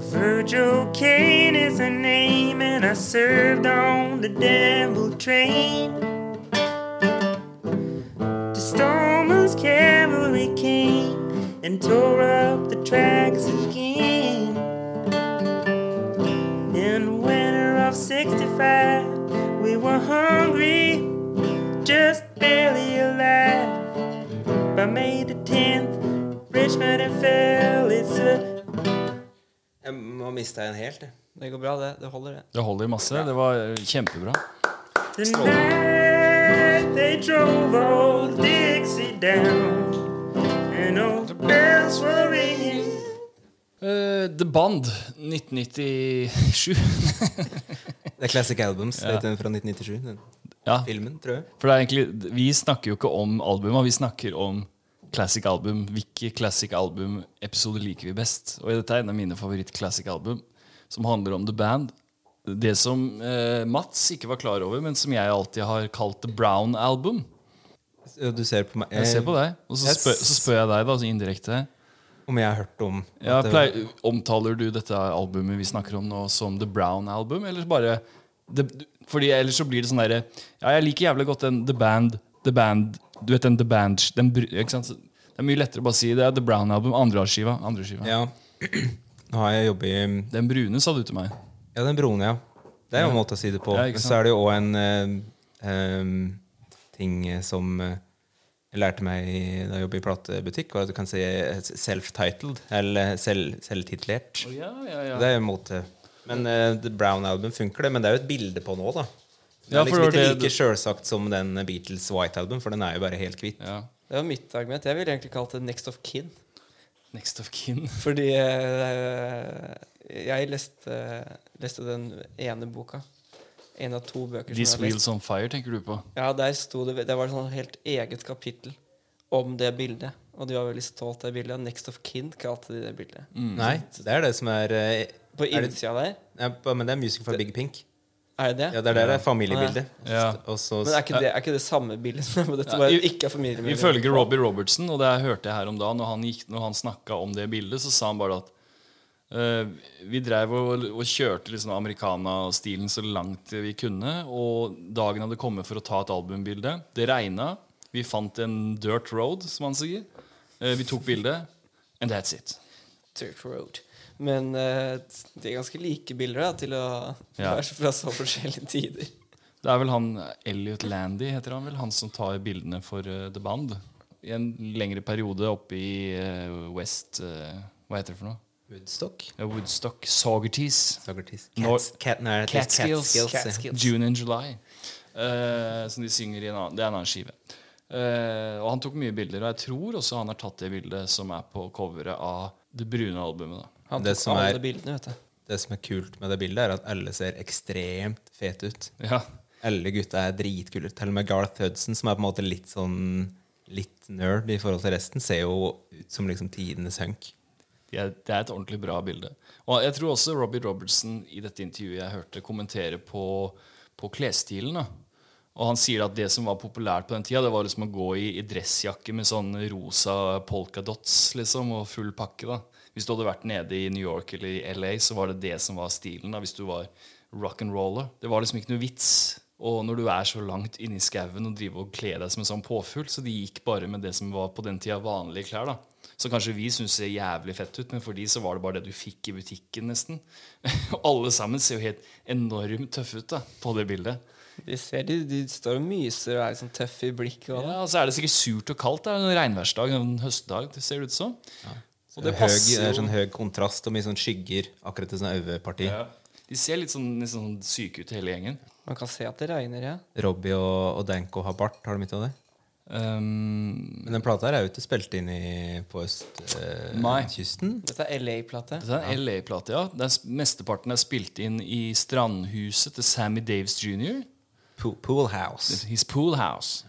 Jojo Kane is her name, and I served on the devil train. The Stormer's cavalry came and tore up the tracks again. In the winter of 65, we were hungry, just barely alive. By May the 10th, Richmond and fell. It's a Jeg må miste en helt, jeg. Det går bra, det. Det holder, det. Det holder masse. Det var eh, kjempebra. The night they drove old Dixie down, and all the bells were ringing. Eh, The Band 1997. Det er Classic Albums. Det heter den fra 1997. Den ja, filmen, tror jeg. for det er egentlig Vi snakker jo ikke om albuma, vi snakker om classic album. Hvilke classic album-episoder liker vi best? Og dette er en av mine favoritt-classic album, som handler om The Band. Det som eh, Mats ikke var klar over, men som jeg alltid har kalt The Brown Album. Så Du ser på meg Jeg ser på deg, og så Jeg spør, så spør jeg deg da, så indirekte. om jeg har hørt om Ja, at det- pleier, omtaler du dette albumet vi snakker om nå som The Brown Album, eller bare det, Fordi ellers så blir det sånn derre Ja, jeg liker jævlig godt den The Band, The Band Du vet den The Band den, br- ikke sant? Så Det er mye lettere å bare si det er The Brown Album, andreskiva. Andre skiva. Ja. Nå har jeg jobbet i Den brune, sa du til meg. Ja, den broen, ja. Det er jo en måte å si det på. Ja, ikke Men så sant? er det jo òg en eh, em, ting som eh, jeg lærte meg i- da jeg jobbet i platebutikk, var at du kan si eh, self-titled, eller selv, selvtitlert. Ja, Det er jo en måte. Men eh, The Brown Album funker, det. Men det er jo et bilde på nå, da. Det Ja, er for liksom det ikke var det like sjølsagt som den Beatles White Album, for den er jo bare helt hvit. Det var mitt argument. Jeg ville egentlig kalt det Next of Kin. Next of Kin. Fordi eh, jeg leste, leste den ene boka. En av to bøker som These jeg har lest. Wheels On Fire tenker du på. Ja, der sto det Det var et sånn helt eget kapittel om det bildet. Og de var veldig stolt av det bildet. Next of Kin kalte de det bildet. Mm. Nei, det er det som er eh, På Mm. er det- innsida der ja, på- Men det er Music for Big Pink. er det det. Ja, det er der det er familiebildet. Ja. Og så Men er ikke det, er ikke det samme bildet som er på dette? Ja, Bare i- ikke er familie med det. Ifølge Robbie Robertson, og det hørte jeg her om dagen, når han, gikk- når han snakka om det bildet, så sa han bare at eh, vi drev og, og kjørte liksom americana-stilen så langt vi kunne. Og dagen hadde kommet for å ta et albumbilde. Det regna. Vi fant en dirt road, som han sier. Eh, vi tok bildet. And that's it. Dirt Road. Men eh, de er ganske like bilder da, til å Ja. være fra så forskjellige tider. Det er vel han Elliot Landy, heter han vel, han som tar bildene for eh, The Band. I en lengre periode oppe i eh, West eh, Hva heter det for noe? Woodstock. Ja, Woodstock Saugerties. Socrates. Når- Cats, cat, nei, det er Catskills. Catskills, ja. June and July. Eh, som de synger i en annen, det er en annen skive. Eh, og han tok mye bilder, og jeg tror også han har tatt det bildet som er på coveret av det brune albumet. da. Han Det tok som alle er- bildene, vet du. Det som er kult med det bildet, er at alle ser ekstremt fete ut. Ja, Alle gutta er dritkule. Til og med Garth Hudson, som er på en måte litt sånn litt nerd i forhold til resten, ser jo ut som liksom tidenes hunk. det er, det er et ordentlig bra bilde. Og jeg tror også Robbie Robertson i dette intervjuet jeg hørte kommentere på, på klesstilen. da. Og han sier at det som var populært på den tida, det var liksom å gå i, i dressjakke med sånn rosa polkadots liksom, og full pakke. da. Hvis du hadde vært nede i New York eller i LA, så var det det som var stilen. da, Hvis du var rock'n'roller. Det var liksom ikke noe vits. Og når du er så langt inne i skauen og driver og kler deg som en sånn påfugl, så de gikk bare med det som var på den tida vanlige klær. da. Så kanskje vi syns ser jævlig fett ut, men for de så var det bare det du fikk i butikken. nesten. Og alle sammen ser jo helt enormt tøffe ut da, på det bildet. De, ser, de, de står og myser og er liksom tøffe i blikket. Og Ja, og så er det sikkert surt og kaldt. Det er en regnværsdag, en høstdag. Det ser det ut som. Og det høy, det passer er sånn jo. høy kontrast og mye sånn skygger akkurat i sånn øveparti. Ja. De ser litt sånn, litt sånn syke ut, hele gjengen. sånn. Man kan se at det regner, ja. Robbie og, og Danko har bart. Har du mye av det? Um, Men den plata her er jo ikke spilt inn i, på østkysten. Nei. Eh, kysten. Dette er LA-plate. dette er en LA-plate, ja. Det er, s- mesteparten er spilt inn i strandhuset til Sammy Daves jr. Po- Pool House. His pool house.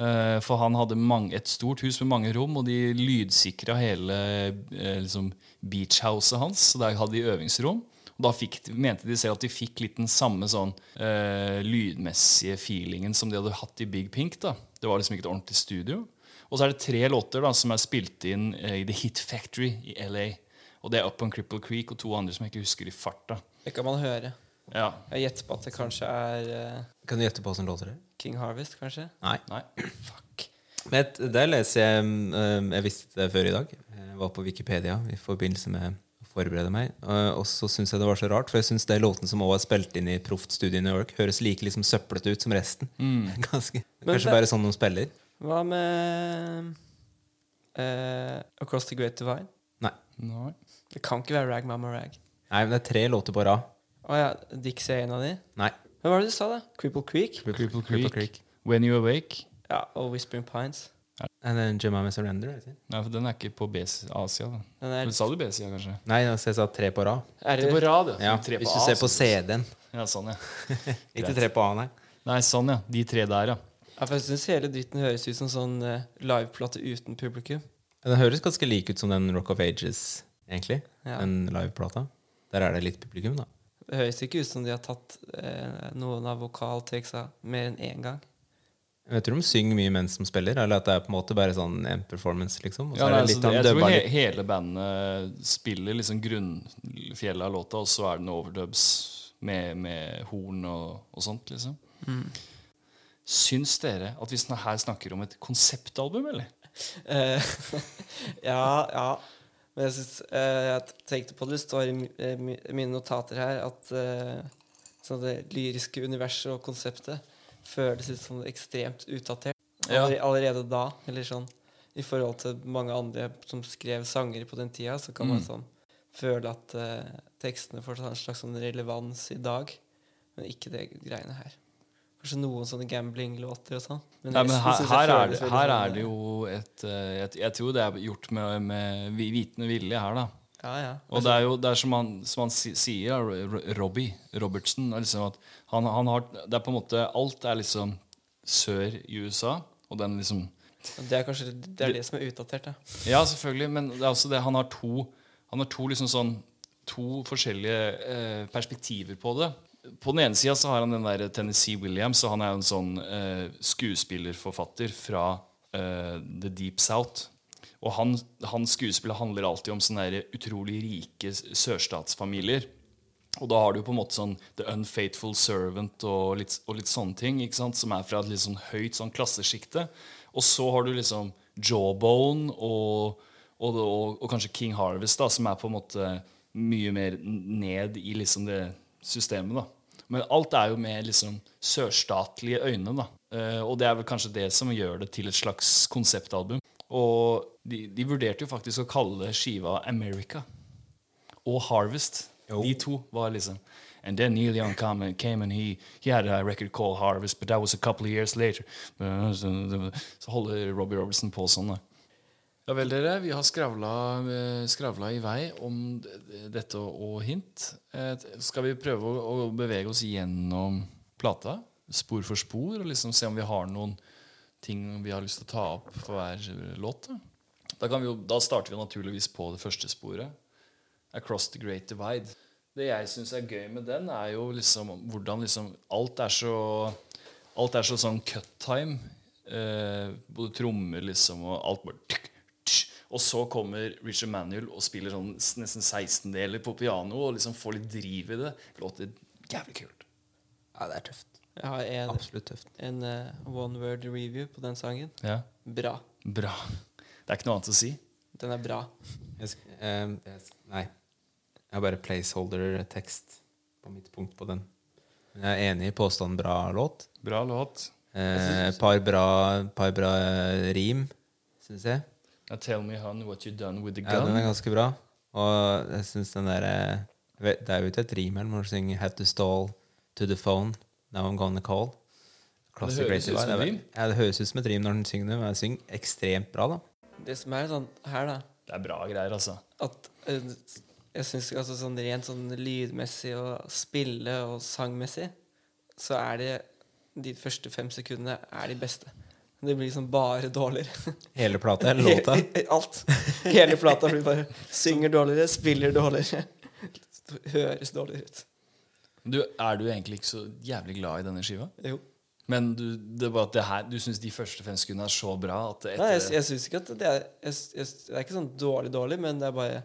Eh, for han hadde mange, et stort hus med mange rom, og de lydsikra hele eh, liksom beachhouset hans. Så der hadde de øvingsrom. Og da fikk, de- mente de selv at de fikk litt den samme sånn eh, lydmessige feelingen som de hadde hatt i Big Pink. da. Det var liksom ikke et ordentlig studio. Og så er det tre låter da, som er spilt inn eh, i The Hit Factory i LA. Og det er Up on Cripple Creek og to andre som jeg ikke husker i farta. Det kan man høre. Ja, Jeg gjetter på at det kanskje er eh, Kan du gjette på hvordan låter det er? King Harvest, kanskje? Nei. nei Men et- der leser jeg um, Jeg visste det før i dag. Jeg var på Wikipedia i forbindelse med å forberede meg. Uh, Og så syns jeg det var så rart, for jeg syns de låtene som også er spilt inn i Proft-studiet i New York, høres like liksom søplete ut som resten. Mm. Ganske, Men kanskje det- bare sånn de spiller. Hva med eh, Across the Great Divine? Nei. Nei. Det kan ikke være Rag Mama Rag. Nei, men det er tre låter på rad. Å ja, Dixie er en av de. Nei. Men hva var det du sa, da? Cripple Creek? Cripple Creek. When You Awake. Ja, og Whispering Pines. And then Jemima Surrender. er det ikke? Nei, for den er ikke på BC, Asia, da. Den er, Men sa du BC, kanskje? Nei, altså jeg sa tre på rad. er det, rad, Ja, Tre på hvis du A, ser på så- CD-en. Ja, sånn, ja. Ikke Greit. tre på A, nei. Nei, sånn, ja. De tre der, ja. ja, for jeg syns hele dritten høres ut som sånn eh, liveplate uten publikum. Den høres ganske lik ut som den Rock of Ages, egentlig. Ja. Den liveplata. Der er det litt publikum, da. Det høres ikke ut som de har tatt eh, noen av vokaltreksa mer enn én gang. Jeg tror de synger mye mens de spiller, eller at det er på en måte bare sånn en performance, liksom. Og så ja er nei, det så litt det, han jeg tror dubba he litt. hele bandet spiller liksom grunnfjellet av låta, og så er det noen overdubs med, med horn og, og sånt, liksom. Syns dere at vi sn- her snakker om et konseptalbum, eller? Eh, ja, ja. Men jeg, synes, eh, jeg tenkte på det. Det står i mi- eh, mi- mine notater her at eh, så det lyriske universet og konseptet føles ut som ekstremt utdatert Ja. Aller, allerede da. Eller sånn i forhold til mange andre som skrev sanger på den tida, så kan man Mm. sånn føle at eh, tekstene får sånn en slags sånn relevans i dag, men ikke det greiene her. Kanskje noen sånne gambling-låter og sånn. Nei, men resten her, synes jeg her, er føles det, veldig her sånn, er det jo et eh, Jeg, jeg tror det er gjort med, med vi- vitende vilje her, da. ja, ja. Og det er jo det er som han, som han si- sier, ja, Ro- Ro- Robbie Robertson er liksom at han, han har, Det er på en måte Alt er liksom sør i USA, og den liksom Og Det er kanskje det, er det som er utdatert. Da. Ja, selvfølgelig, men det er også det han har to Han har to liksom sånn To forskjellige eh, perspektiver på det. På den ene sida så har han den der Tennessee Williams, og han er jo en sånn eh, skuespillerforfatter fra eh, The Deep South. Og han, hans skuespill handler alltid om sånne der utrolig rike s- sørstatsfamilier. Og da har du på en måte sånn The Unfaithful Servant og litt, og litt sånne ting, ikke sant? som er fra et litt sånn høyt sånn klassesjikte. Og så har du liksom Jawbone og, og, og, og kanskje King Harvest, da, som er på en måte mye mer n- ned i liksom det systemet. da. Men alt er jo med liksom sørstatlige øyne, da. Eh, og det er vel kanskje det som gjør det til et slags konseptalbum. Og de, de vurderte jo faktisk å kalle skiva America og Harvest. De to var liksom And then Neil Young come and came and he, he had a record called Harvest, but that was a couple of years later. Så holder Robbie Robertson på sånn, da. Ja vel, dere. Vi har skravla, eh, skravla i vei om d- d- dette og hint. Eh, Skal vi prøve å, å bevege oss gjennom plata, spor for spor, og liksom se om vi har noen ting vi har lyst til å ta opp for hver låt? Da, da, kan vi jo, da starter vi naturligvis på det første sporet. Across the Great Divide. Det jeg syns er gøy med den, er jo liksom hvordan liksom Alt er så Alt er så sånn cut time. Eh, både trommer liksom og alt bare tsk, tsk. Og så kommer Richard Manuel og spiller sånn s- nesten 16-deler på piano og liksom får litt driv i det. Låter jævlig kult. Ja, det er tøft. Jeg har en, Absolutt tøft. en eh, one word review på den sangen. Ja. Bra. Bra. Det er ikke noe annet å si. Den er bra. Jeg sk ehm, jeg sk nei. Jeg har bare placeholder-tekst på mitt punkt på den. Men jeg er enig i påstanden bra låt. Bra låt. Eh, par, bra, par bra eh, rim, syns jeg. Now tell me, hun, what you done with the Ja, den gun. er ganske bra. Og jeg syns den derre jeg vet- Det er jo ikke et rim her, men når du synger 'Had to stall to the phone, now I'm gonna call'. Classic høres Great ut Divide. som et Det er- rim. Ja, det høres ut som et rim når den synger det, men den synger ekstremt bra, da. Det som er sånn her, da Det er bra greier, altså. At eh, jeg syns altså, sånn rent sånn lydmessig og spille og sangmessig, så er det de første fem sekundene er de beste. Det blir liksom bare dårligere. Hele plata eller låta. Alt. Hele plata blir bare Synger dårligere, spiller dårligere. Høres dårligere ut. Du, er du egentlig ikke så jævlig glad i denne skiva? Jo. Men du, det var at det her, du syns de første fem sekundene er så bra at det Nei, jeg, etter jeg syns ikke at det er jeg, jeg, Det er ikke sånn dårlig dårlig, men det er bare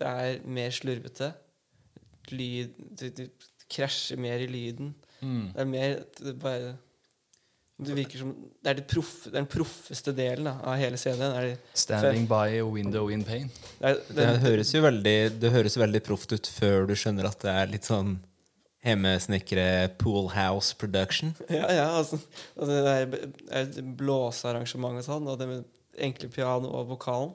Det er mer slurvete. Lyd Du, du krasjer mer i lyden. Mm. Det er mer at det bare det virker som Det er det proff, det er den proffeste delen da, av hele CD-en. Er det, Standing by a window in pain. det, er, Det den- høres jo veldig, det høres jo veldig proft ut før du skjønner at det er litt sånn hjemmesnekre pool house production. ja, ja, altså, altså Det der b- er et blåsearrangement og sånn, og det med enkle piano og vokalen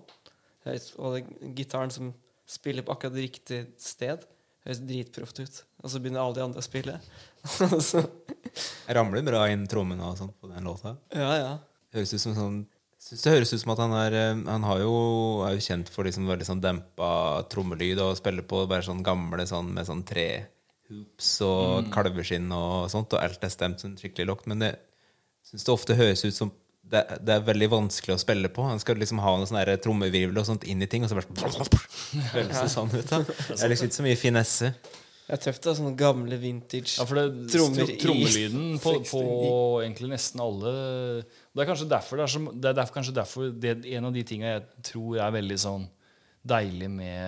høres, og det, gitaren som spiller på akkurat riktig sted, høres dritproft ut. Og så begynner alle de andre å spille. Og så, Jeg ramler bra inn trommene og sånt på den låta. ja, ja. Høres ut som en sånn Synes det høres ut som at han er eh, Han har jo, er jo kjent for liksom veldig sånn dempa trommelyd og spiller på bare sånn gamle sånn med sånn tre hoops og kalveskinn og sånt, og alt er stemt sånn skikkelig lågt, men det syns det ofte høres ut som det, det er veldig vanskelig å spille på. Han skal liksom ha noe sånn der trommevirvel og sånt inn i ting, og så bare sånn- Føles det sånn ut, da. Det er liksom ikke så mye finesse. Det er tøft, da. Sånne gamle vintage Ja, for det, Trommer tro- i trommelyden på, på 69. egentlig nesten alle Det er kanskje derfor det er, så, det er derfor, kanskje derfor det, en av de tinga jeg tror er veldig sånn deilig med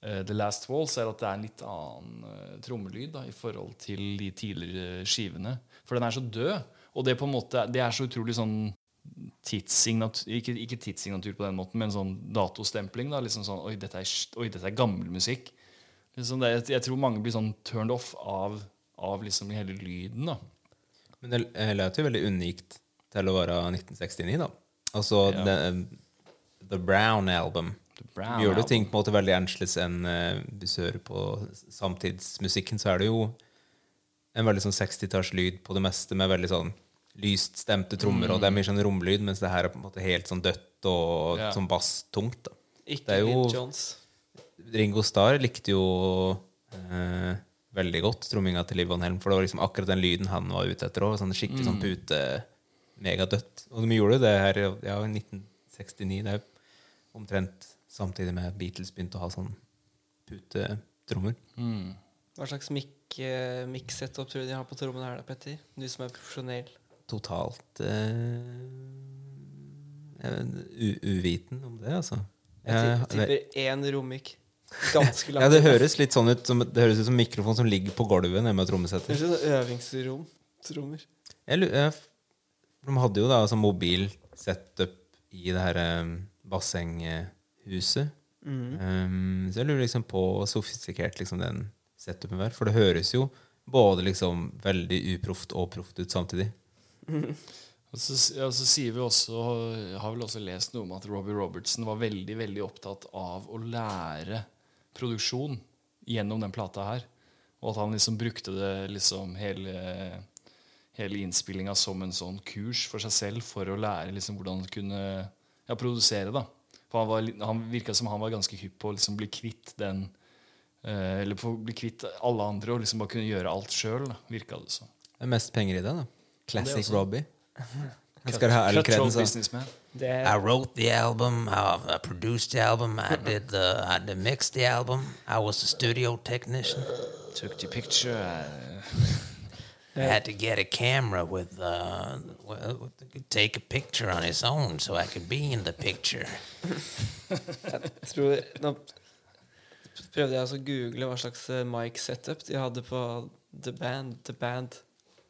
eh, The Last Walls, er at det er en litt annen eh, trommelyd da, i forhold til de tidligere skivene. For den er så død, og det, på en måte, det er så utrolig sånn tidssignatur ikke, ikke tidssignatur på den måten, men sånn datostempling. da, liksom sånn, Oi, dette er, sj- oi, dette er gammel musikk. Liksom det, jeg, jeg tror mange blir sånn turned off av, av liksom hele lyden. da. Men det eh, låter jo veldig unikt til å være 1969, da. Altså The, the Brown Album. The Brown Gjør du Album. ting på en måte veldig annerledes enn eh, hvis du hører på samtidsmusikken, så er det jo en veldig sånn 60-tallslyd på det meste, med veldig sånn lyst stemte trommer, og det er mye sånn romlyd, mens det her er på en måte helt sånn dødt og Mm. Ja. sånn sånn basstungt, da. det Ikke er jo- Lynn Jones. Ringo Starr likte jo eh, veldig godt tromminga til Liv Van Helm, for det var liksom akkurat den lyden han var ute etter òg. Sånn skikkelig Mm. sånn pute, megadødt. Og de gjorde jo det her ja, i 1969. Det er jo omtrent samtidig med Beatles begynte å ha sånn putetrommer. Mm. Hva slags mikk- eh, mikssetup tror du de har på trommene her, da, Petter? Du som er profesjonell. Totalt eh, jeg vet- u uviten om det, altså. Jeg Jeg- tipper- tipper én rommikk. Ganske langt. ja, det høres litt sånn ut som, det høres ut som en mikrofon som ligger på gulvet nede med trommesetter. Kanskje sånn øvingsrom. Trommer. Jeg, lu- jeg, f- de hadde jo da altså mobil setup i det her ehm, em, bassenghuset. Em, så jeg lurer liksom på hvor sofistikert liksom den setupen var. For det høres jo både liksom veldig uproft og proft ut samtidig. Og så, ja, så sier vi også, jeg har vel også lest noe om at Robbie Robertson var veldig veldig opptatt av å lære produksjon gjennom den plata her. Og at han liksom brukte det liksom hele, hele innspillinga som en sånn kurs for seg selv for å lære liksom hvordan han kunne ja, produsere. da. For Han, var litt- han virka som han var ganske hypp på å liksom bli kvitt den eh, Eller på å bli kvitt alle andre og liksom bare kunne gjøre alt sjøl, virka det som. Det er mest penger i det, da. Classic også. Robbie. Han skal ha all Cut- kreden, cut sa han. businessman. Det er I wrote the album, I, I produced the album, I did the, I did mixed the album. I was the studio technician. Took the picture. eh, I had to get a camera with, uh, well, take a picture on his own so I could be in the picture. Jeg tror, nå prøvde jeg også å google hva slags eh, mic-setup de hadde på The Band. The Band.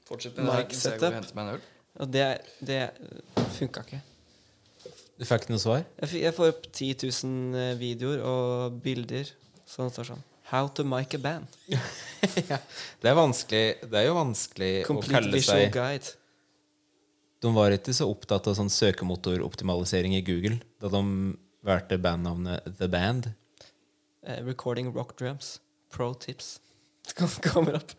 Fortsett med det her, Mike mens jeg går og setup. henter Og det, det funka ikke. Du fikk ikke noe svar? Jeg, fi- jeg får opp 10 000 videoer og bilder som står sånn How to mic a band. Det er vanskelig Det er jo vanskelig å Complete kalle visual seg guide. De var ikke så opptatt av sånn søkemotoroptimalisering i Google da de valgte bandnavnet The Band. Eh, recording rock drums. Pro tips. Kom- Kommer opp.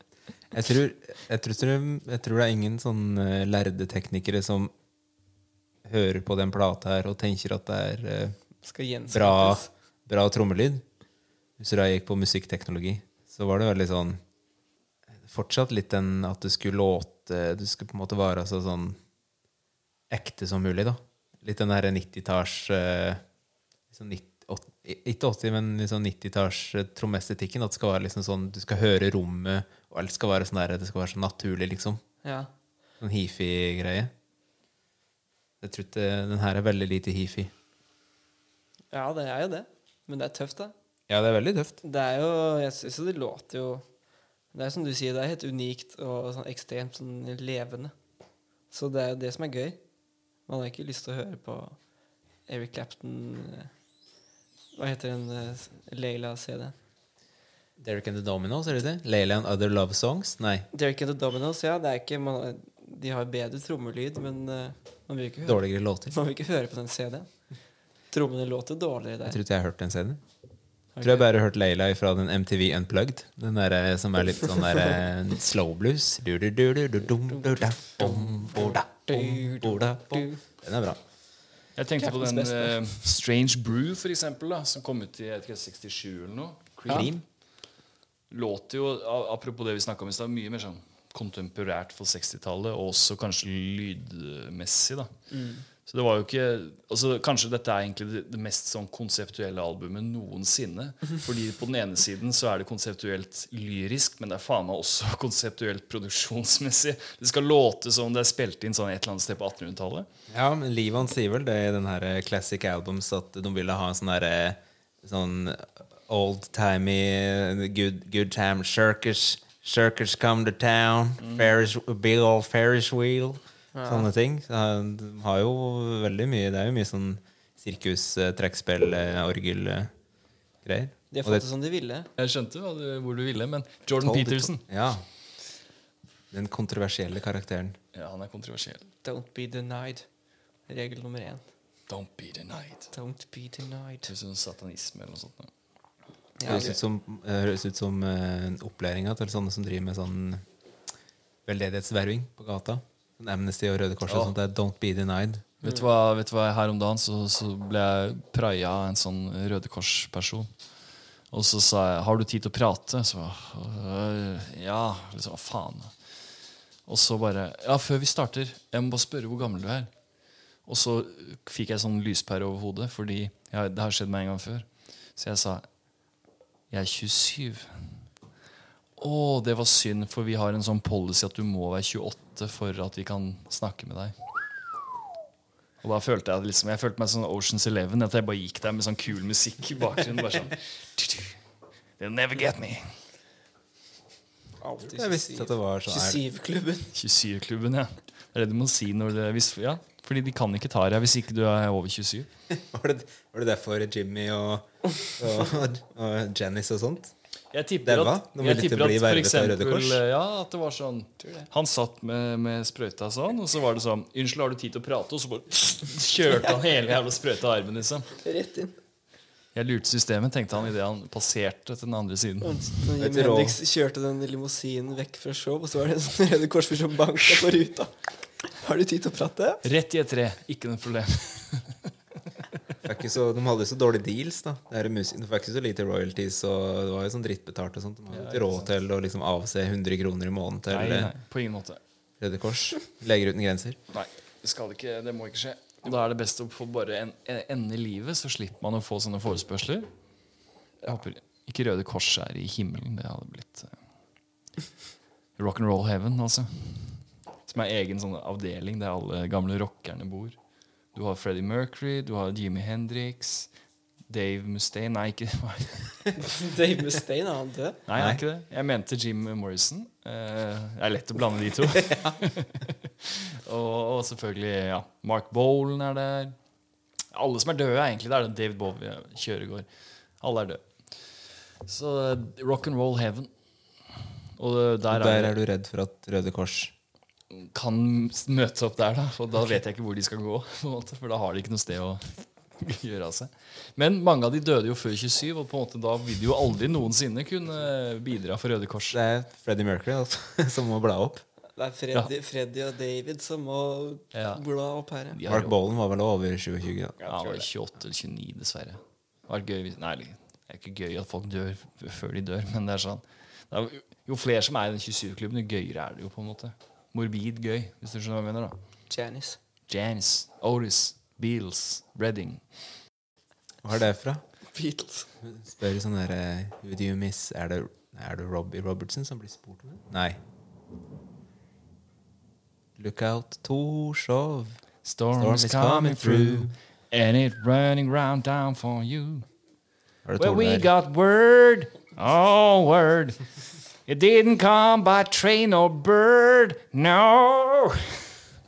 Jeg tror, jeg, tror, tror- jeg tror det er ingen sånn eh, lærde teknikere som hører på den plata her og tenker at det er eh, Skal bra, gjenskapes. bra trommelyd. Hvis du da gikk på musikkteknologi, så var det veldig sånn Fortsatt litt den at det skulle låte Du skulle på en måte være så sånn ekte som mulig, da. Litt den derre 90-talls eh, liksom 90 åt- Ikke 80, men liksom 90-talls eh, trommeestetikken. At det skal være liksom sånn Du skal høre rommet, og alt skal være sånn der Det skal være så naturlig, liksom. Ja. Sånn hifi-greie. Jeg tror ikke den her er veldig lite hifi. ja, det er jo det. Men det er tøft, da. Ja, det er veldig tøft. Det er jo Jeg syns jo det låter jo Det er som du sier, det er helt unikt og sånn ekstremt sånn levende. Så det er jo det som er gøy. Man har ikke lyst til å høre på Eric Clapton eh, Hva heter den eh, Leila-CD-en? Derek and the Dominos, er det det? Layla and Other Love Songs? Nei. Derek and the Dominos, ja. Det er ikke, man, de har bedre trommelyd, men eh, man vil ikke høre, Dårligere låter. man vil ikke høre på den CD-en. Trommene låter dårligere Jeg der. tror ikke jeg har hørt den CD-en. Jeg tror jeg bare har hørt Layla fra den MTV Unplugged. Den der, eh, som er litt sånn der, eh, slow blues. Du, du, du, du, du, dum, du, da, dum, bo, da, bom, bo, da, bom. Den er bra. Jeg tenkte på Captain's den eh, Best, Strange Brew, for eksempel, da, som kom ut i jeg vet ikke, 67 eller noe. Cream. Låter jo, a- apropos det vi snakka om i stad, mye mer sånn kontemporært for 60-tallet, og også kanskje lydmessig, da. Så det var jo ikke altså Kanskje dette er egentlig det, det mest sånn konseptuelle albumet noensinne. Fordi på den ene siden så er det konseptuelt lyrisk, men det er faen meg også konseptuelt produksjonsmessig. Det skal låte som det er spilt inn sånn et eller annet sted på 1800-tallet. Ja, men Livan sier vel det i den her eh, Classic Albums at de ville ha en sånn derre eh, sånn old-timey eh, good, good time circus. Circus come to town. Mm. Ferris, big old Ferris wheel. Sånne ting. Så han har jo veldig mye Det er jo mye sånn sirkus, eh, trekkspill, eh, orgel eh, greier. De har Og fått det- det som de ville. Jeg skjønte hva du, hvor du ville, men Jordan Peterson Ja. Den kontroversielle karakteren. Ja, han er kontroversiell. Don't be denied. Regel nummer én. Don't be denied. Don't be denied. Høres ut som satanisme eller noe sånt. da. Det høres ut som, det høres ut som eh, opplæringa til sånne som driver med sånn veldedighetsverving på gata. Sånn Amnesty og Røde Kors og Ja. sånt. Det er Don't be denied. Vet du hva, vet du hva her om dagen så, så ble jeg praia av en sånn Røde Kors-person. Og så sa jeg 'Har du tid til å prate?' Så øh, Ja. Liksom, hva faen? Og så bare Ja, før vi starter, jeg må bare spørre hvor gammel du er. Og så fikk jeg sånn lyspære over hodet, fordi ja, det har skjedd meg en gang før. Så jeg sa 'Jeg er 27'. Å, det var synd, for vi har en sånn policy at du må være 28 for at vi kan snakke med deg. Og da følte jeg liksom, jeg følte meg sånn Oceans Eleven, at jeg bare gikk der med sånn kul musikk i bakgrunnen. bare sånn, They'll never get me. Alltid Jeg visste at det var sånn. Er, 27-klubben. 27-klubben, ja. Det er det du må si når det, hvis, ja. Fordi de kan ikke ta deg hvis ikke du er over 27. var, det, var det derfor Jimmy og, og, og Janice og sånt? Jeg Det tipper var, at, de ville jeg til tipper å at bli for vervet av Røde eksempel Kors. ja, at det var sånn Han satt med, med sprøyta sånn, og så var det sånn 'Unnskyld, har du tid til å prate?' Og så bare kjørte han hele jævla sprøyta av armen. liksom Rett inn. Jeg lurte systemet, tenkte han idet han passerte til den andre siden. Når Jimi rå. Hendrix kjørte den limousinen vekk fra show, og så var det en sånn Røde Korsfyr som banka på ruta. Har du tid til å prate? Rett i et tre. Ikke noe problem. Det er ikke så, de hadde jo så dårlige deals. da det er musik, De fikk ikke så lite royalties, og det var jo sånn drittbetalt. og sånt De hadde jo ikke råd til å liksom avse 100 kroner i måneden til Nei, nei, eh, på ingen måte. Røde Kors. Leger uten grenser. Nei, det, skal ikke, det må ikke skje. Og Da er det best å få bare en, en ende i livet, så slipper man å få sånne forespørsler. Jeg håper ikke Røde Kors er i himmelen. Det hadde blitt uh, rock'n'roll heaven, altså. Som er egen sånn avdeling der alle gamle rockerne bor. Du har Freddie Mercury, du har Jimmy Hendrix, Dave Mustaine Nei, ikke Dave Mustaine, er han død? Nei, det er ikke det. Jeg mente Jim Morrison. Eh, det er lett å blande de to. og, og selvfølgelig ja. Mark Bolan er der. Alle som er døde, er egentlig. Det er det David Bowie, Kjøregård. Alle er døde. Så eh, rock and roll heaven. Og det- der, Og der er, er du redd for at Røde Kors kan møte opp der, da. Og da vet jeg ikke hvor de skal gå. På en måte, for da har de ikke noe sted å gjøre av seg. Men mange av de døde jo før 27, og på en måte da vil de jo aldri noensinne kunne bidra for Røde Kors. Det er Freddie Mercury altså, som må bla opp. Det er Freddy, Freddy og David som må Ja. bla opp her. ja. De har Mark jo- Bolan var vel over 27? Da. Ja, han var 28 eller 29, dessverre. Det var gøy hvis, nei, det er ikke gøy at folk dør f- før de dør, men det er sånn det er, Jo flere som er i den 27-klubben, jo gøyere er det jo, på en måte. Morbid gøy, hvis du skjønner hva jeg mener, da. Janice. Janice, Otis, Beals, Redding. Hva er det fra? Beatles. Spør sånn der eh, Who do you miss? Er det, er det Robbie Robertson som blir spurt om det? Nei. Look out Torshov. Storm, Storm is is coming coming through, and it's running round down for you. Var det Well, Tore we der? got word. Oh, word. It didn't come by train or bird. No.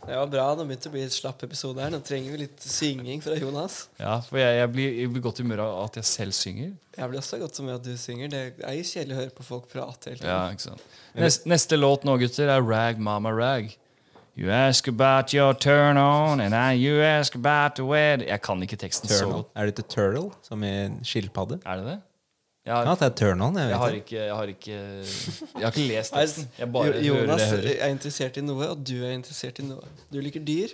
Det var bra. Nå begynte det å bli en slapp episode her. Nå trenger vi litt synging fra Jonas. Ja, for jeg, jeg, blir, jeg blir godt i humør av at jeg selv synger. Jeg blir også i godt som at du synger. Det er jo kjedelig å høre på folk prate hele tiden. Ja, ikke sant. Neste, neste låt nå, gutter, er Rag Mama Rag. You ask about your turn on, and I you ask about the wed Jeg kan ikke teksten så Turtle. godt. Er det ikke turtle, som i en skilpadde? Er det det? Ja, Jeg, det er turn on. Jeg jeg, har vet ikke. ikke, jeg har ikke Jeg har ikke lest Nei, teksten. Jeg bare Jo- hører Jonas det jeg hører. er interessert i noe, og du er interessert i noe. Du liker dyr.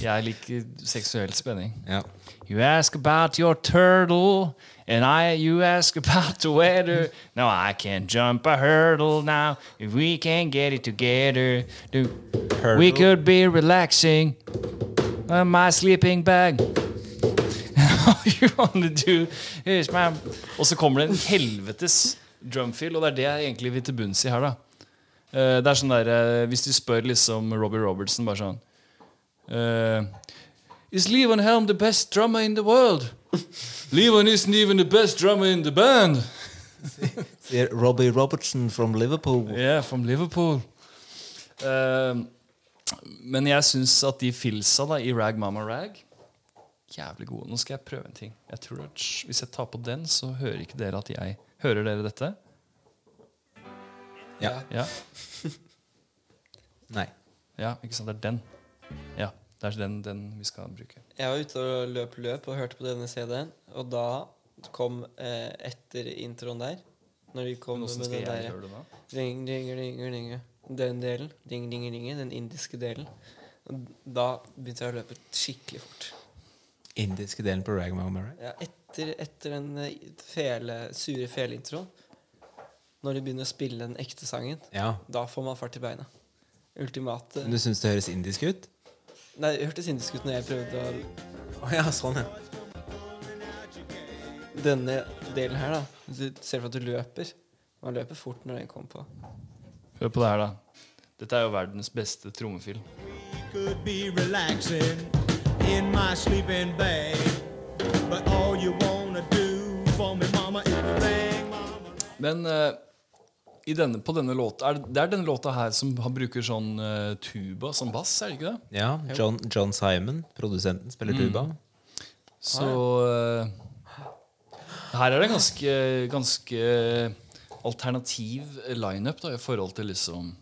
Jeg liker seksuell spenning. Ja. You ask about your turtle, and I you ask about the weather. No, I can't jump a hurdle now. If we can get it together, do we Hurdle. could be relaxing on my sleeping bag. All you wanna do is my Og så kommer det en helvetes drumfill, og det er det jeg egentlig vil til bunns i her, da. Eh, det er sånn der, eh, Hvis du spør liksom Robbie Robertson bare sånn eh, Is Levon Helm the best drummer in the world? Levon isn't even the best drummer in the band. Sier Robbie Robertson from Liverpool. Yeah, from Liverpool. Eh, men jeg syns at de filsa da, i Rag Mama Rag Jævlig gode. Nå skal jeg prøve en ting. Jeg tror at sh- Hvis jeg tar på den, så hører ikke dere at jeg Hører dere dette? Ja. Ja, Nei. ja ikke sant? Det er den. Ja, det er den, den vi skal bruke. Jeg var ute og løp løp og hørte på denne CD-en, og da kom eh, etter introen der Når de kom Men med hvordan skal den jeg der gjøre det da? ring, ring, ring, ring, Den delen. Ding, ding, ding, den indiske delen. Og Da begynte jeg å løpe skikkelig fort. Indiske delen på Ragmama, right? Ja, etter, etter den eh, fele, sure feleintroen, når de begynner å spille den ekte sangen, Ja. da får man fart i beina. Ultimate Men du syns det høres indisk ut? Nei, det hørtes indisk ut når jeg prøvde å Å ja, sånn, ja. Denne delen her, da. Du ser for at du løper. Man løper fort når den kom på. Hør på det her, da. Dette er jo verdens beste trommefilm. could be relaxing in my sleeping bag. But all you wanna do for me, mama, is bang, mama. Men eh, i denne, på denne låta er det, det er denne låta her som han bruker sånn eh, tuba som bass, er det ikke det? Ja, John, John Simon, produsenten, spiller tuba. Så eh, her er det ganske, ganske alternativ lineup da, i forhold til liksom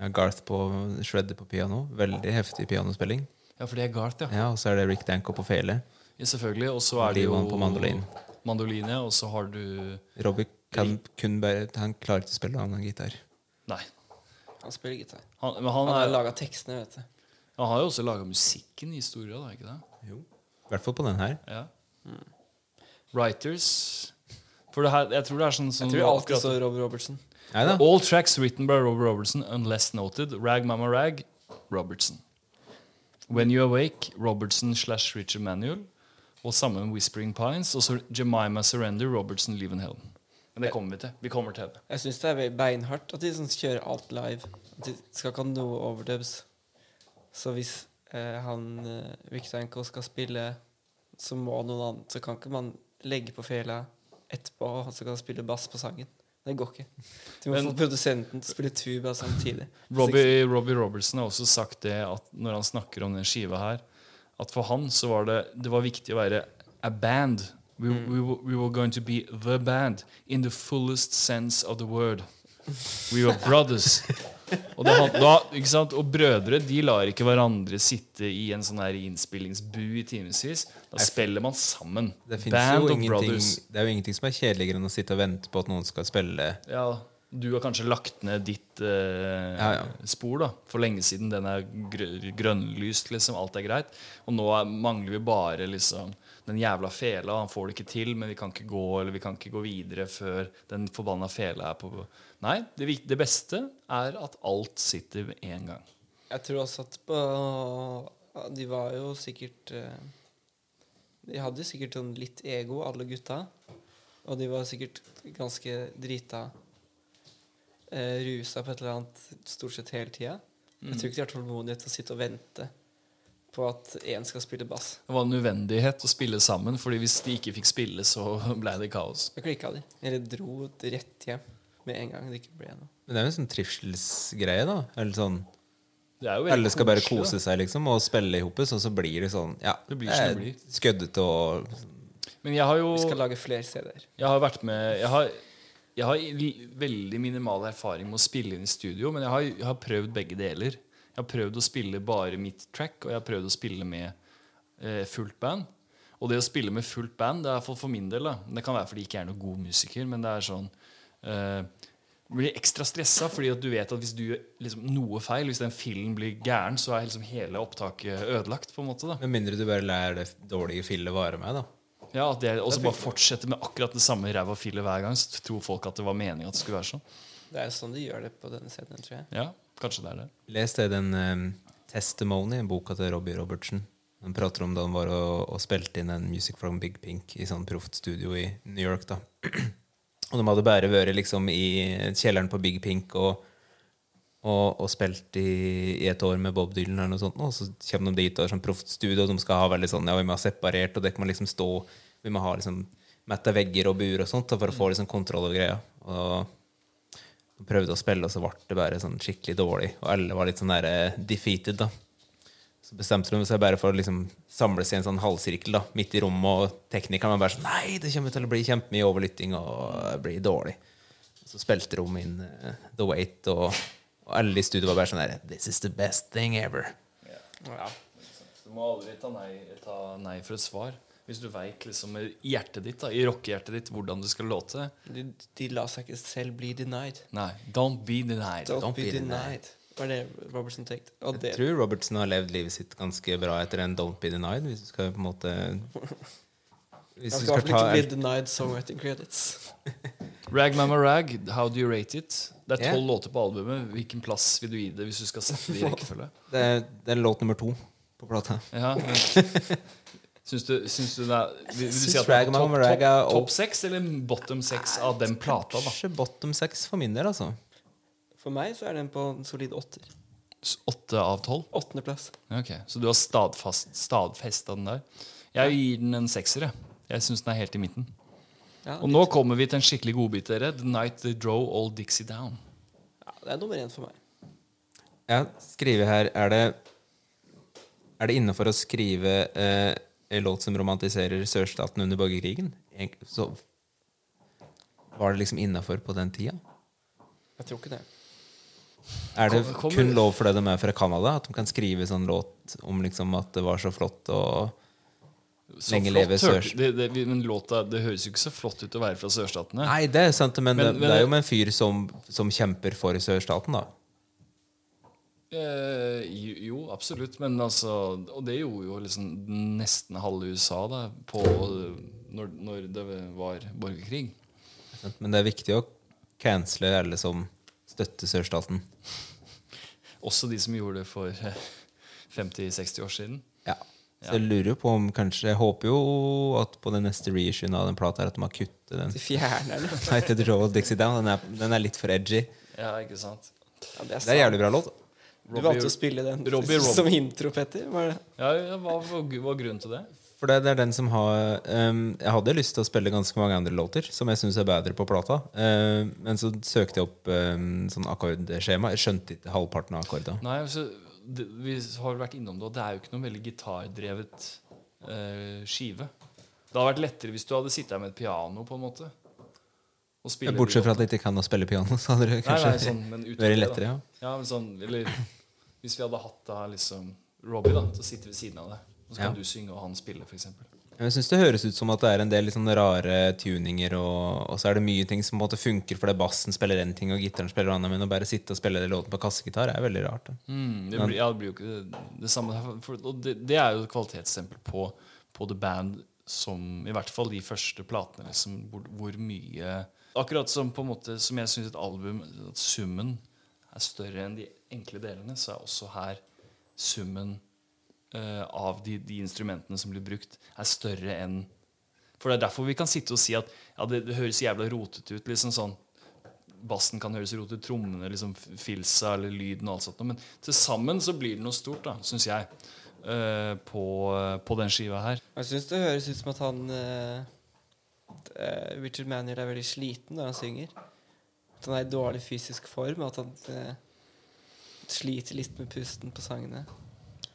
Ja, Garth på shredder på piano. Veldig heftig pianospilling. Ja, for det er Garth, ja. Ja, Og så er det Rick Danko på fele. ja selvfølgelig. Og så er det jo Levan på mandolin. mandolin, ja, og så har du Robbie kan kun bare Han klarer ikke å spille, han har gitar. Nei. Han spiller gitar. Han, men han, Han har er, laga tekstene, vet du. han har jo også laga musikken i historia, da, ikke det? Jo. I hvert fall på den her. Ja. Writers For det her, jeg tror det er sånn som Jeg tror alltid akkurat- står Rob Robertson. Nei da. All tracks written by Rob Robertson unless noted. Rag Mama Rag, Robertson. When You Awake, Robertson slash Richard Manuel. Og sammen med Whispering Pines. Og så Jemima Surrender, Robertson Levenhelm. Men det kommer vi til. Vi kommer til det. Jeg syns det er veldig beinhardt at de sånn kjører alt live. At de skal ikke ha noe overdubs. Så hvis eh, han eh, Victor Enko skal spille, så må noen annen Så kan ikke man legge på fela etterpå, og så kan han spille bass på sangen. Det går ikke. Du må Men- få produsenten til å spille tuba samtidig. Robbie, Robbie Robertson har også sagt det at når han snakker om den skiva her, at for han så var det, det var viktig å være a band. We, Mm. we, were- we were going to be the band in the fullest sense of the word. We were brothers. Og, det, han- da, ikke sant? og brødre de lar ikke hverandre sitte i en sånn her innspillingsbu i timevis. Da spiller man sammen. Det, finnes Band jo of ingenting, brothers. det er jo ingenting som er kjedeligere enn å sitte og vente på at noen skal spille Ja, du har kanskje lagt ned ditt eh, Ja, ja. spor da for lenge siden. Den er grø- grønnlyst, liksom. Alt er greit. Og nå er, mangler vi bare liksom den jævla fela. Han får det ikke til, men vi kan ikke gå eller vi kan ikke gå videre før den forbanna fela er på Nei, det, vik- det beste er at alt sitter med en gang. Jeg tror også at på De var jo sikkert eh, De hadde sikkert sånn litt ego, alle gutta. Og de var sikkert ganske drita. eh, Rusa på et eller annet stort sett hele tida. Jeg tror ikke de har tålmodighet til å sitte og vente på at én skal spille bass. Det var en nødvendighet å spille sammen, Fordi hvis de ikke fikk spille, så ble det kaos. Jeg klikka de. Eller dro rett hjem med en gang det ikke ble noe. Men det er jo en sånn trivselsgreie, da. Eller sånn Det er jo veldig Alle skal bare koselig, kose seg liksom og spille i hopus, og så blir det sånn ja, Det blir som det blir. skøddete og sånn. da. Men jeg har jo Vi skal lage flere CD-er. Jeg har vært med Jeg har, jeg har li- veldig minimal erfaring med å spille inn i studio, men jeg har, jeg har prøvd begge deler. Jeg har prøvd å spille bare mitt track, og jeg har prøvd å spille med eh, fullt band. Og det å spille med fullt band, det er for, for min del da. Det kan være fordi jeg ikke er noen god musiker, men det er sånn eh, blir ekstra stressa fordi at du vet at hvis du gjør liksom, noe feil, hvis den fillen blir gæren, så er liksom hele opptaket ødelagt. på en måte da. Med mindre du bare lærer det dårlige fillet vare med, da. Ja, at det, Og så bare fortsette med akkurat det samme ræva fillet hver gang. Så tror folk at det var meningen at det skulle være sånn. Det er jo sånn de gjør det på denne CD-en, tror jeg. Ja, kanskje det er det. Les det i den ehm, Testimony, boka til Robbie Robertson. Han prater om da han var og, og spilte inn en Music from Big Pink i sånn proft studio i New York. da. og de hadde bare vært liksom i kjelleren på Big Pink og, og, og spilt i, i et år med Bob Dylan eller noe sånt, og så kommer de dit og har sånn proft studio, og de skal ha veldig sånn, ja, vi må ha separert, og det kan man liksom stå, vi må ha liksom metta vegger og bur og sånt da, for å få liksom kontroll over greia. Og og prøvde å spille, og så ble det bare sånn skikkelig dårlig. Og alle var litt sånn der eh, defeated, da. Så bestemte de seg bare for å liksom samles i en sånn halvsirkel da, midt i rommet, og teknikeren var bare sånn Nei, det kommer til å bli kjempemye overlytting og det blir dårlig. Så spilte de inn eh, The Wait, og, og alle i studio var bare sånn der This is the best thing ever. Du må aldri ta nei, ta nei for et svar. Hvis du veit liksom i hjertet ditt, da, i rockehjertet ditt, hvordan det skal låte. De, de la seg ikke selv bli denied. Nei. Don't be denied. Don't, Don't be be denied. Var det Robertson tenkte? Og det, Jeg tror Robertson har levd livet sitt ganske bra etter en Don't Be Denied, hvis du skal på en måte Hvis du han skal i skal hvert ta fall ikke bli denied songwriting credits. Rag Mamma Rag, how do you rate it? Det er Ja. tolv låter på albumet. Hvilken plass vil du gi det hvis du skal sette det i rekkefølge? det, er- det er låt nummer to på plata. Ja, men- Syns du, syns du det er Vil, vil du Syns si at det er Rag topp Mamma top, Rag er opp- seks eller bottom seks av den plata? da? Kanskje bottom seks for min del, altså. For meg så er den på en solid åtter. S- Åtte av tolv? Åttendeplass. Ok, Så du har stadfast, stadfesta den der? Jeg gir den en sekser. Jeg, jeg syns den er helt i midten. Ja, Og nå kommer vi til en skikkelig godbit, dere. The Night They Drove All Dixie Down. ja, det er nummer én for meg. Jeg skriver her Er det, er det innenfor å skrive eh, en låt som romantiserer sørstaten under borgerkrigen? Egent- Så var det liksom innafor på den tida? Jeg tror ikke det. Er det Kom- kommer- kun lov for det de er fra Canada? At de kan skrive sånn låt om liksom at det var så flott og Så Lenge flott leve hørte- Sørs- Det, det, men låta, det høres jo ikke så flott ut å være fra sørstatene. Nei, det er sant, men, Men- det, men- det er jo med en fyr som, som kjemper for sørstaten, da. Eh, jo, jo, absolutt. Men altså Og det gjorde jo liksom nesten halve USA da, på, eh, når, når det var borgerkrig. Men det er viktig å cancele alle som støtter sørstaten. Også de som gjorde det for eh, 50-60 år siden. Ja. Så jeg lurer jo på om kanskje Jeg håper jo at på den neste reissuen av den plata her at de har kuttet den. De fjerner den. Night at the Row of Dixie Down. Den er, den er litt for edgy. Ja, ikke sant? Ja, det er Det er en sant. jævlig bra låt. Du valgte å spille den Robbie Rob- som intro, Petter. Var det? Ja, ja, hva var hva var grunnen til det? For det, det er den som har ehm, Jeg hadde lyst til å spille ganske mange andre låter som jeg syns er bedre på plata, Ehm, men så søkte jeg opp ehm, sånn akkordskjema. Jeg skjønte ikke halvparten av akkordene. Nei, altså, det, Vi har vært innom det, og det er jo ikke noen veldig gitardrevet eh, skive. Det hadde vært lettere hvis du hadde sittet her med et piano. på en måte og spille Bortsett de fra at jeg ikke kan å spille piano, så hadde det Nei, kanskje nei, sånn, men utover vært det, da. lettere. Ja. Ja, men sånn, eller Hvis vi hadde hatt da liksom Robbie, da, til å sitte ved siden av deg. Og så kan Ja. du synge, og han spille, f.eks. Men Jeg synes det høres ut som at det er en del litt sånn rare tuninger, og, og så er det mye ting som på en måte funker fordi bassen spiller en ting, og gitaren spiller noe annet, men å bare sitte og spille den låten på kassegitar er veldig rart. Da. Mm, det, blir- ja, det blir jo ikke det, det samme. For, og det, det er jo et kvalitetsstempel på, på The Band som I hvert fall de første platene, liksom, hvor, hvor mye Akkurat som på en måte Som jeg syns et album At summen er større enn de enkle delene, så er også her summen eh, av de, de instrumentene som blir brukt, er større enn For det er derfor vi kan sitte og si at ja, det, det høres jævla rotete ut. liksom sånn Bassen kan høres rotete ut, trommene, liksom f- filsa eller lyden og alt sånt. noe, Men til sammen så blir det noe stort, da, syns jeg. eh, på, på den skiva her. Jeg syns det høres ut som at han eh, t- eh, Richard Manuel er veldig sliten når han synger. At han er i dårlig fysisk form, og at han eh, sliter litt med pusten på sangene.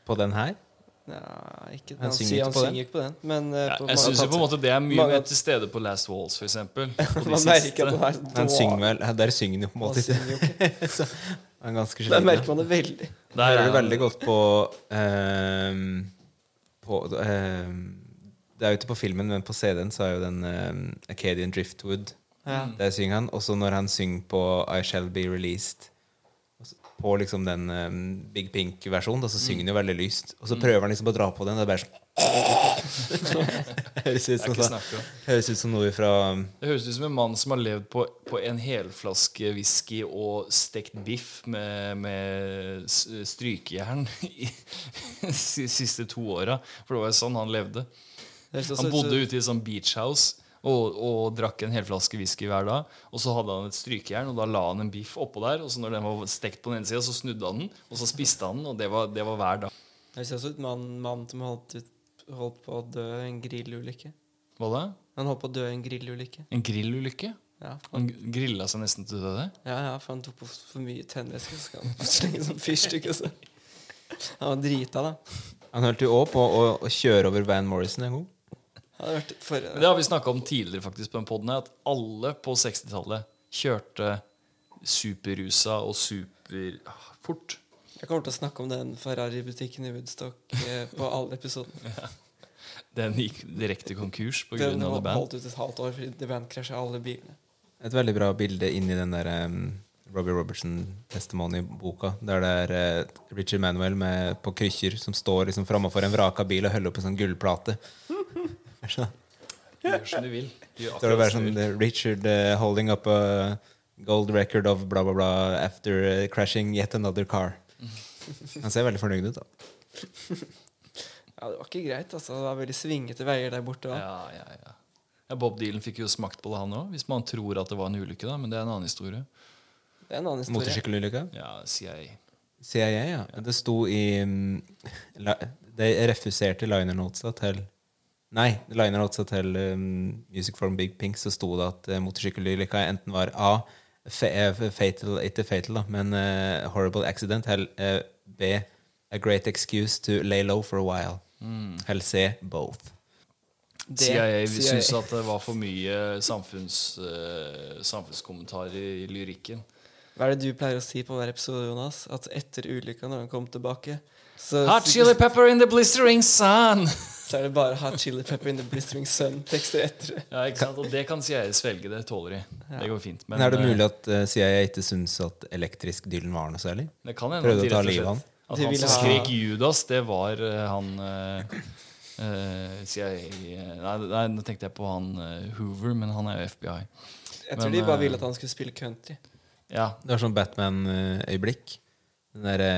På den her? Ja, ikke, Han han synger synger, ikke han på den? synger ikke på den, men eh, Ja, på jeg mange syns jo på en plater- måte det er mye mange- mer til stede på Last Walls, f.eks. Man merker at han er Han dårlig. synger vel, der synger han jo på en Han måte ikke. synger jo ikke. Så Han er ganske Der sliten. merker man det veldig. Der hører du veldig godt på, ehm, på ehm, Det er jo ikke på filmen, men på CD-en så er jo den ehm, Acadian Driftwood. Ja. Der synger han. Også når han synger på I Shall Be Released. også På liksom den ehm, Big Pink-versjonen, da, så synger han jo veldig lyst. Mm. Og så prøver han liksom å dra på den, og det er bare sånn Høres ut Det som, er ikke liksom- sånn- snakk om. høres ut som noe fra um, Det høres ut som en mann som har levd på, på en helflaske whisky og stekt biff med, med s- strykejern i de siste to åra. For det var jo sånn han levde. Han bodde ute i sånn beach house og, og drakk en helflaske whisky hver dag. Og så hadde han et strykejern, og da la han en biff oppå der. Og så når den var stekt på den ene sida, så snudde han den, og så spiste han den. Og det var, det var hver dag. Jeg ser også ut som en mann som holdt, ut, holdt på å dø i en grillulykke. Hva da? Han holdt på å dø i en grillulykke. En grillulykke? Ja, Han grilla seg nesten til døde? Ja, ja, for han tok på for mye tenniske, så skal han slenge som fyrstikk. og så- Han var drita, da. Han holdt jo òg på å, å kjøre over Van Morrison en gang. Han hadde vært for, Men Det har vi snakka om tidligere faktisk på den podden her, at alle på 60-tallet kjørte superrusa og ah, superfort. Jeg kommer til å snakke om den Ferrari-butikken i Woodstock eh, på alle episodene. Den gikk direkte konkurs pga. Den The Band. holdt ut et halvt år fordi The Band krasja alle bilene. Et veldig bra bilde inni den der em, Robbie Robertson-testimony-boka. Der det er eh, Richard Manuel med, på krykker som står liksom framafor en vraka bil og holder opp en sånn gullplate. sånn- Så Gjør som du vil. Gjør står det akkurat bare som sånn du vil. eh, Richard eh, holding up a gold record of bla, bla, bla after eh, crashing yet another car. Han ser veldig fornøyd ut, da. Ja, det var ikke greit, altså. Det var veldig svingete veier der borte. Da. Ja, ja, ja. Ja, Bob Dylan fikk jo smakt på det, han òg. Hvis man tror at det var en ulykke, da. Men det er en annen historie. Det er en annen historie. Motorsykkelulykka. Ja, sier jeg. CIA, ja. Det sto i mm, la, De refuserte liner notesa til Nei, liner notesa til mm, Music from Big Pink, så sto det at uh, motorsykkelulykka enten var A fa eh, fatal, Ikke fatal, da, men eh, horrible accident, eller eh, B a great excuse to lay low for a while. Eller C both. Det- CIA CIA. syntes at det var for mye samfunns, eh, samfunnskommentar i, i lyrikken. Hva er det du pleier å si på hver episode, Jonas? At etter ulykka, når han kom tilbake så, Hot chili pepper in the blistering sun! så er det bare Hot Chili Pepper in the Blistering Sun-tekster etter det. Ja, ikke sant? Og det kan CIA svelge. Det tåler de. Det går fint. Men, er det mulig at eh, CIA ikke syns at elektrisk Dylan var noe særlig? eh, det kan hende Prøvde at de å ta rett og livet av slett- han? At De han ville som ha- skrek Judas, det var eh, han eh, eh, CIA eh, nei, nei, nå tenkte jeg på han eh, Hoover, men han er jo FBI. Jeg tror Men, de bare eh, ville at han skulle spille country. Ja, Det var sånn Batman-øyeblikk. Den derre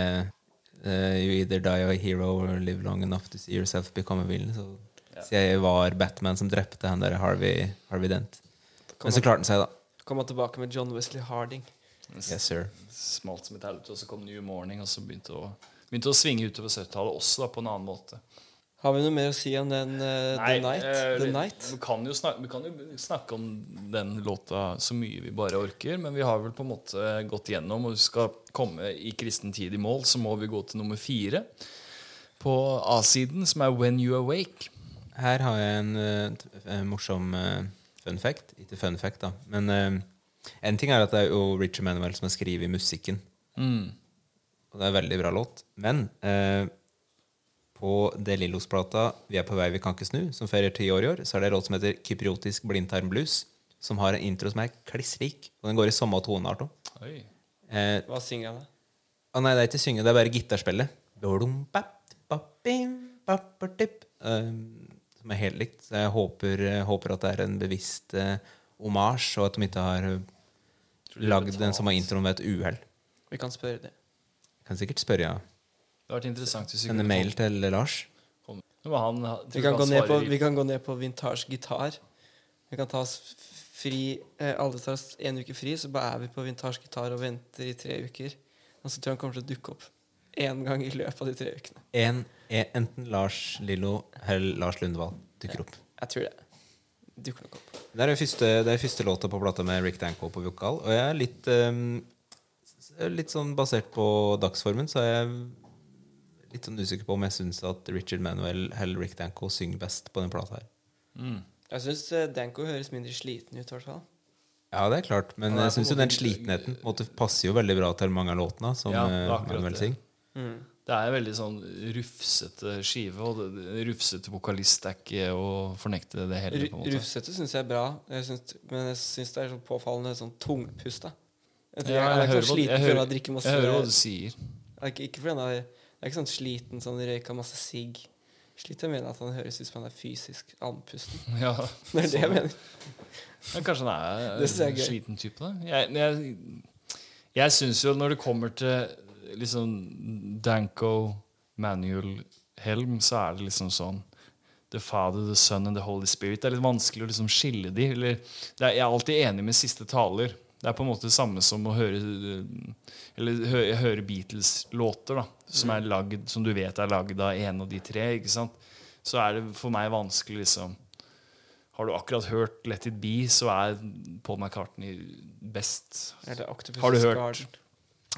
eh, You either die a hero or live long enough to see yourself become a villain. Så, så jeg var Batman som drepte han der Harvey, Harvey Dent. Men så klarte han seg, da. Kom han tilbake med John Wesley Harding. Yes, sir. smalt som et helvete, og så kom New Morning, og så begynte å, begynte å svinge utover 70-tallet også, da, på en annen måte. Har vi noe mer å si om den eh, The Night? eh, The vi- Night? Vi, kan jo snakke, vi kan jo snakke om den låta så mye vi bare orker, men vi har vel på en måte gått gjennom, og skal komme i kristen tid i mål, så må vi gå til nummer fire på A-siden, som er When You Awake. Her har jeg en, eh, t- eh, morsom eh, fun fact. Ikke fun fact, da. Men eh, en ting er at det er jo Richard Manuel som har skrevet musikken. Og det er en veldig bra låt. Men eh, på De Lillos-plata 'Vi er på vei, vi kan ikke snu', som feirer ti år i år, så er det en låt som heter 'Kypriotisk blindtarmblues', som har en intro som er kliss lik. Og den går i samme toneart òg. Oi. Eh, Hva synger han da? å nei, det er ikke synge, det er bare gitarspillet. Dodum, bap, bap, bim, bap, bap, dip. Um, som er helt likt. Så jeg håper, eh, håper at det er en bevisst eh, omasj, og at de ikke har eh, lagd den samme introen ved et uhell. Vi kan spørre det. Kan sikkert spørre, ja. Det har vært interessant hvis vi Sende kunne mail til Lars. få- komme- Men han, Vi kan, gå ned på, vi vi, kan gå ned på vintage gitar. Vi kan ta oss f- fri eh, Alle tar oss en uke fri, så bare er vi på vintage gitar og venter i tre uker. Og så tror jeg han kommer til å dukke opp én gang i løpet av de tre ukene. En, en, enten Lars Lillo eller Lars Lundvall dukker opp. Jeg tror det. Dukker nok opp. Det er, den første, det er første låta på plata med Rick Danko på vokal. Og jeg er litt ehm, s- Litt sånn basert på dagsformen, så er jeg litt sånn usikker på om jeg syns at Richard Manuel eller Rick Danko synger best på den plata her. Jeg syns Danko høres mindre sliten ut, i hvert fall. Ja, det er klart, men Han er jeg på en syns jo måte den slitenheten på en måte passer jo veldig bra til mange av låtene som Ja, det er eh, akkurat Manuel det. synger. Mm. Det er en veldig sånn rufsete skive, og det- det- rufsete vokalist er ikke å fornekte det heller. på en Ru- måte. Rufsete syns jeg er bra, jeg syns, men jeg syns det er sånn påfallende sånn tungpusta. Jeg, Ja, tror- jeg, er jeg ikke hører sånn hva- jeg sliten før jeg hører- drikker masse jeg hører hva du sier. Det er Ikke, ikke fordi han er, det er ikke sånn sliten sånn røyka masse sigg. Sliter med at han høres ut som han er fysisk andpusten. Ja. Det er det jeg mener. Ja, kanskje han er Det synes jeg en er gøy. sliten type, da. Jeg, men jeg, jeg syns jo når det kommer til liksom Danko, Manuel, Helm, så er det liksom sånn The Father, The Son and The Holy Spirit. Det er litt vanskelig å liksom skille de. Eller, det er, jeg er alltid enig med siste taler. Det er på en måte det samme som å høre Eller hø, høre Beatles-låter, da. Mm. Som, er lagd, som du vet er lagd av en av de tre. Ikke sant? Så er det for meg vanskelig liksom har du akkurat hørt Let It Be, så er Paul McCartney best. Eller Octopus Har du hørt? Garden.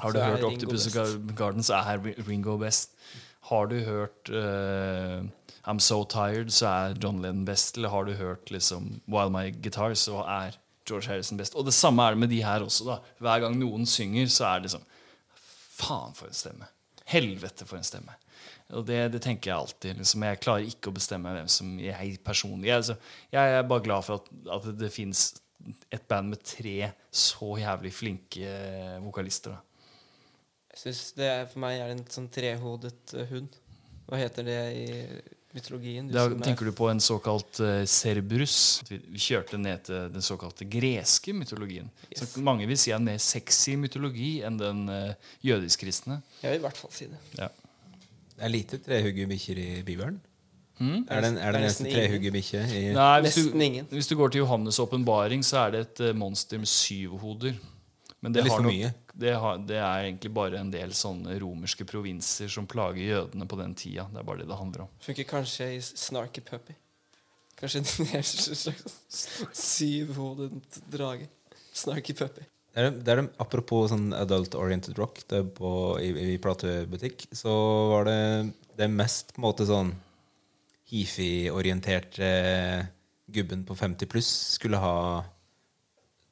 Har du Så er hørt Ringo Octopus best. Gar- Garden, så er Ri- Ringo best. Har du hørt eh, I'm So Tired, så er John Lennon best. Eller har du hørt liksom While My Guitar, så er George Harrison best. Og det samme er det med de her også. da Hver gang noen synger, så er det liksom Faen, for en stemme. Helvete, for en stemme. Og det, det tenker jeg alltid. Liksom. Jeg klarer ikke å bestemme hvem som jeg personlig jeg, altså, jeg er bare glad for at, at det fins et band med tre så jævlig flinke eh, vokalister. Da. Jeg synes det er, For meg er det en sånn trehodet eh, hund. Hva heter det i mytologien? Da som Liksom, er- tenker du på en såkalt eh, Cerberus. Vi vi kjørte ned til den såkalte greske mytologien. Yes. Som mange vil si er en mer sexy mytologi enn den eh, jødisk-kristne. Jeg vil i hvert fall si det. Ja. Det er lite trehugge bikkjer i Bibelen. Hmm? Er det, er Det det er nesten nesten trehugge bikkje i Nei, hvis, Nesten du, ingen. hvis du går til Johannes' åpenbaring, så er det et eh, monster med syv hoder. Men Det er litt har for nok- mye. Det, har, det er egentlig bare en del sånne romerske provinser som plager jødene på den tida. Det er bare det det handler om. Funker kanskje i Snarky Puppy. Kanskje en hel slags syvhodet drage. Snarky Puppy. Det er, det er, de- apropos sånn adult-oriented rock det er på, i, i platebutikk, så var det det mest på en måte sånn hifi-orienterte gubben på 50 pluss skulle ha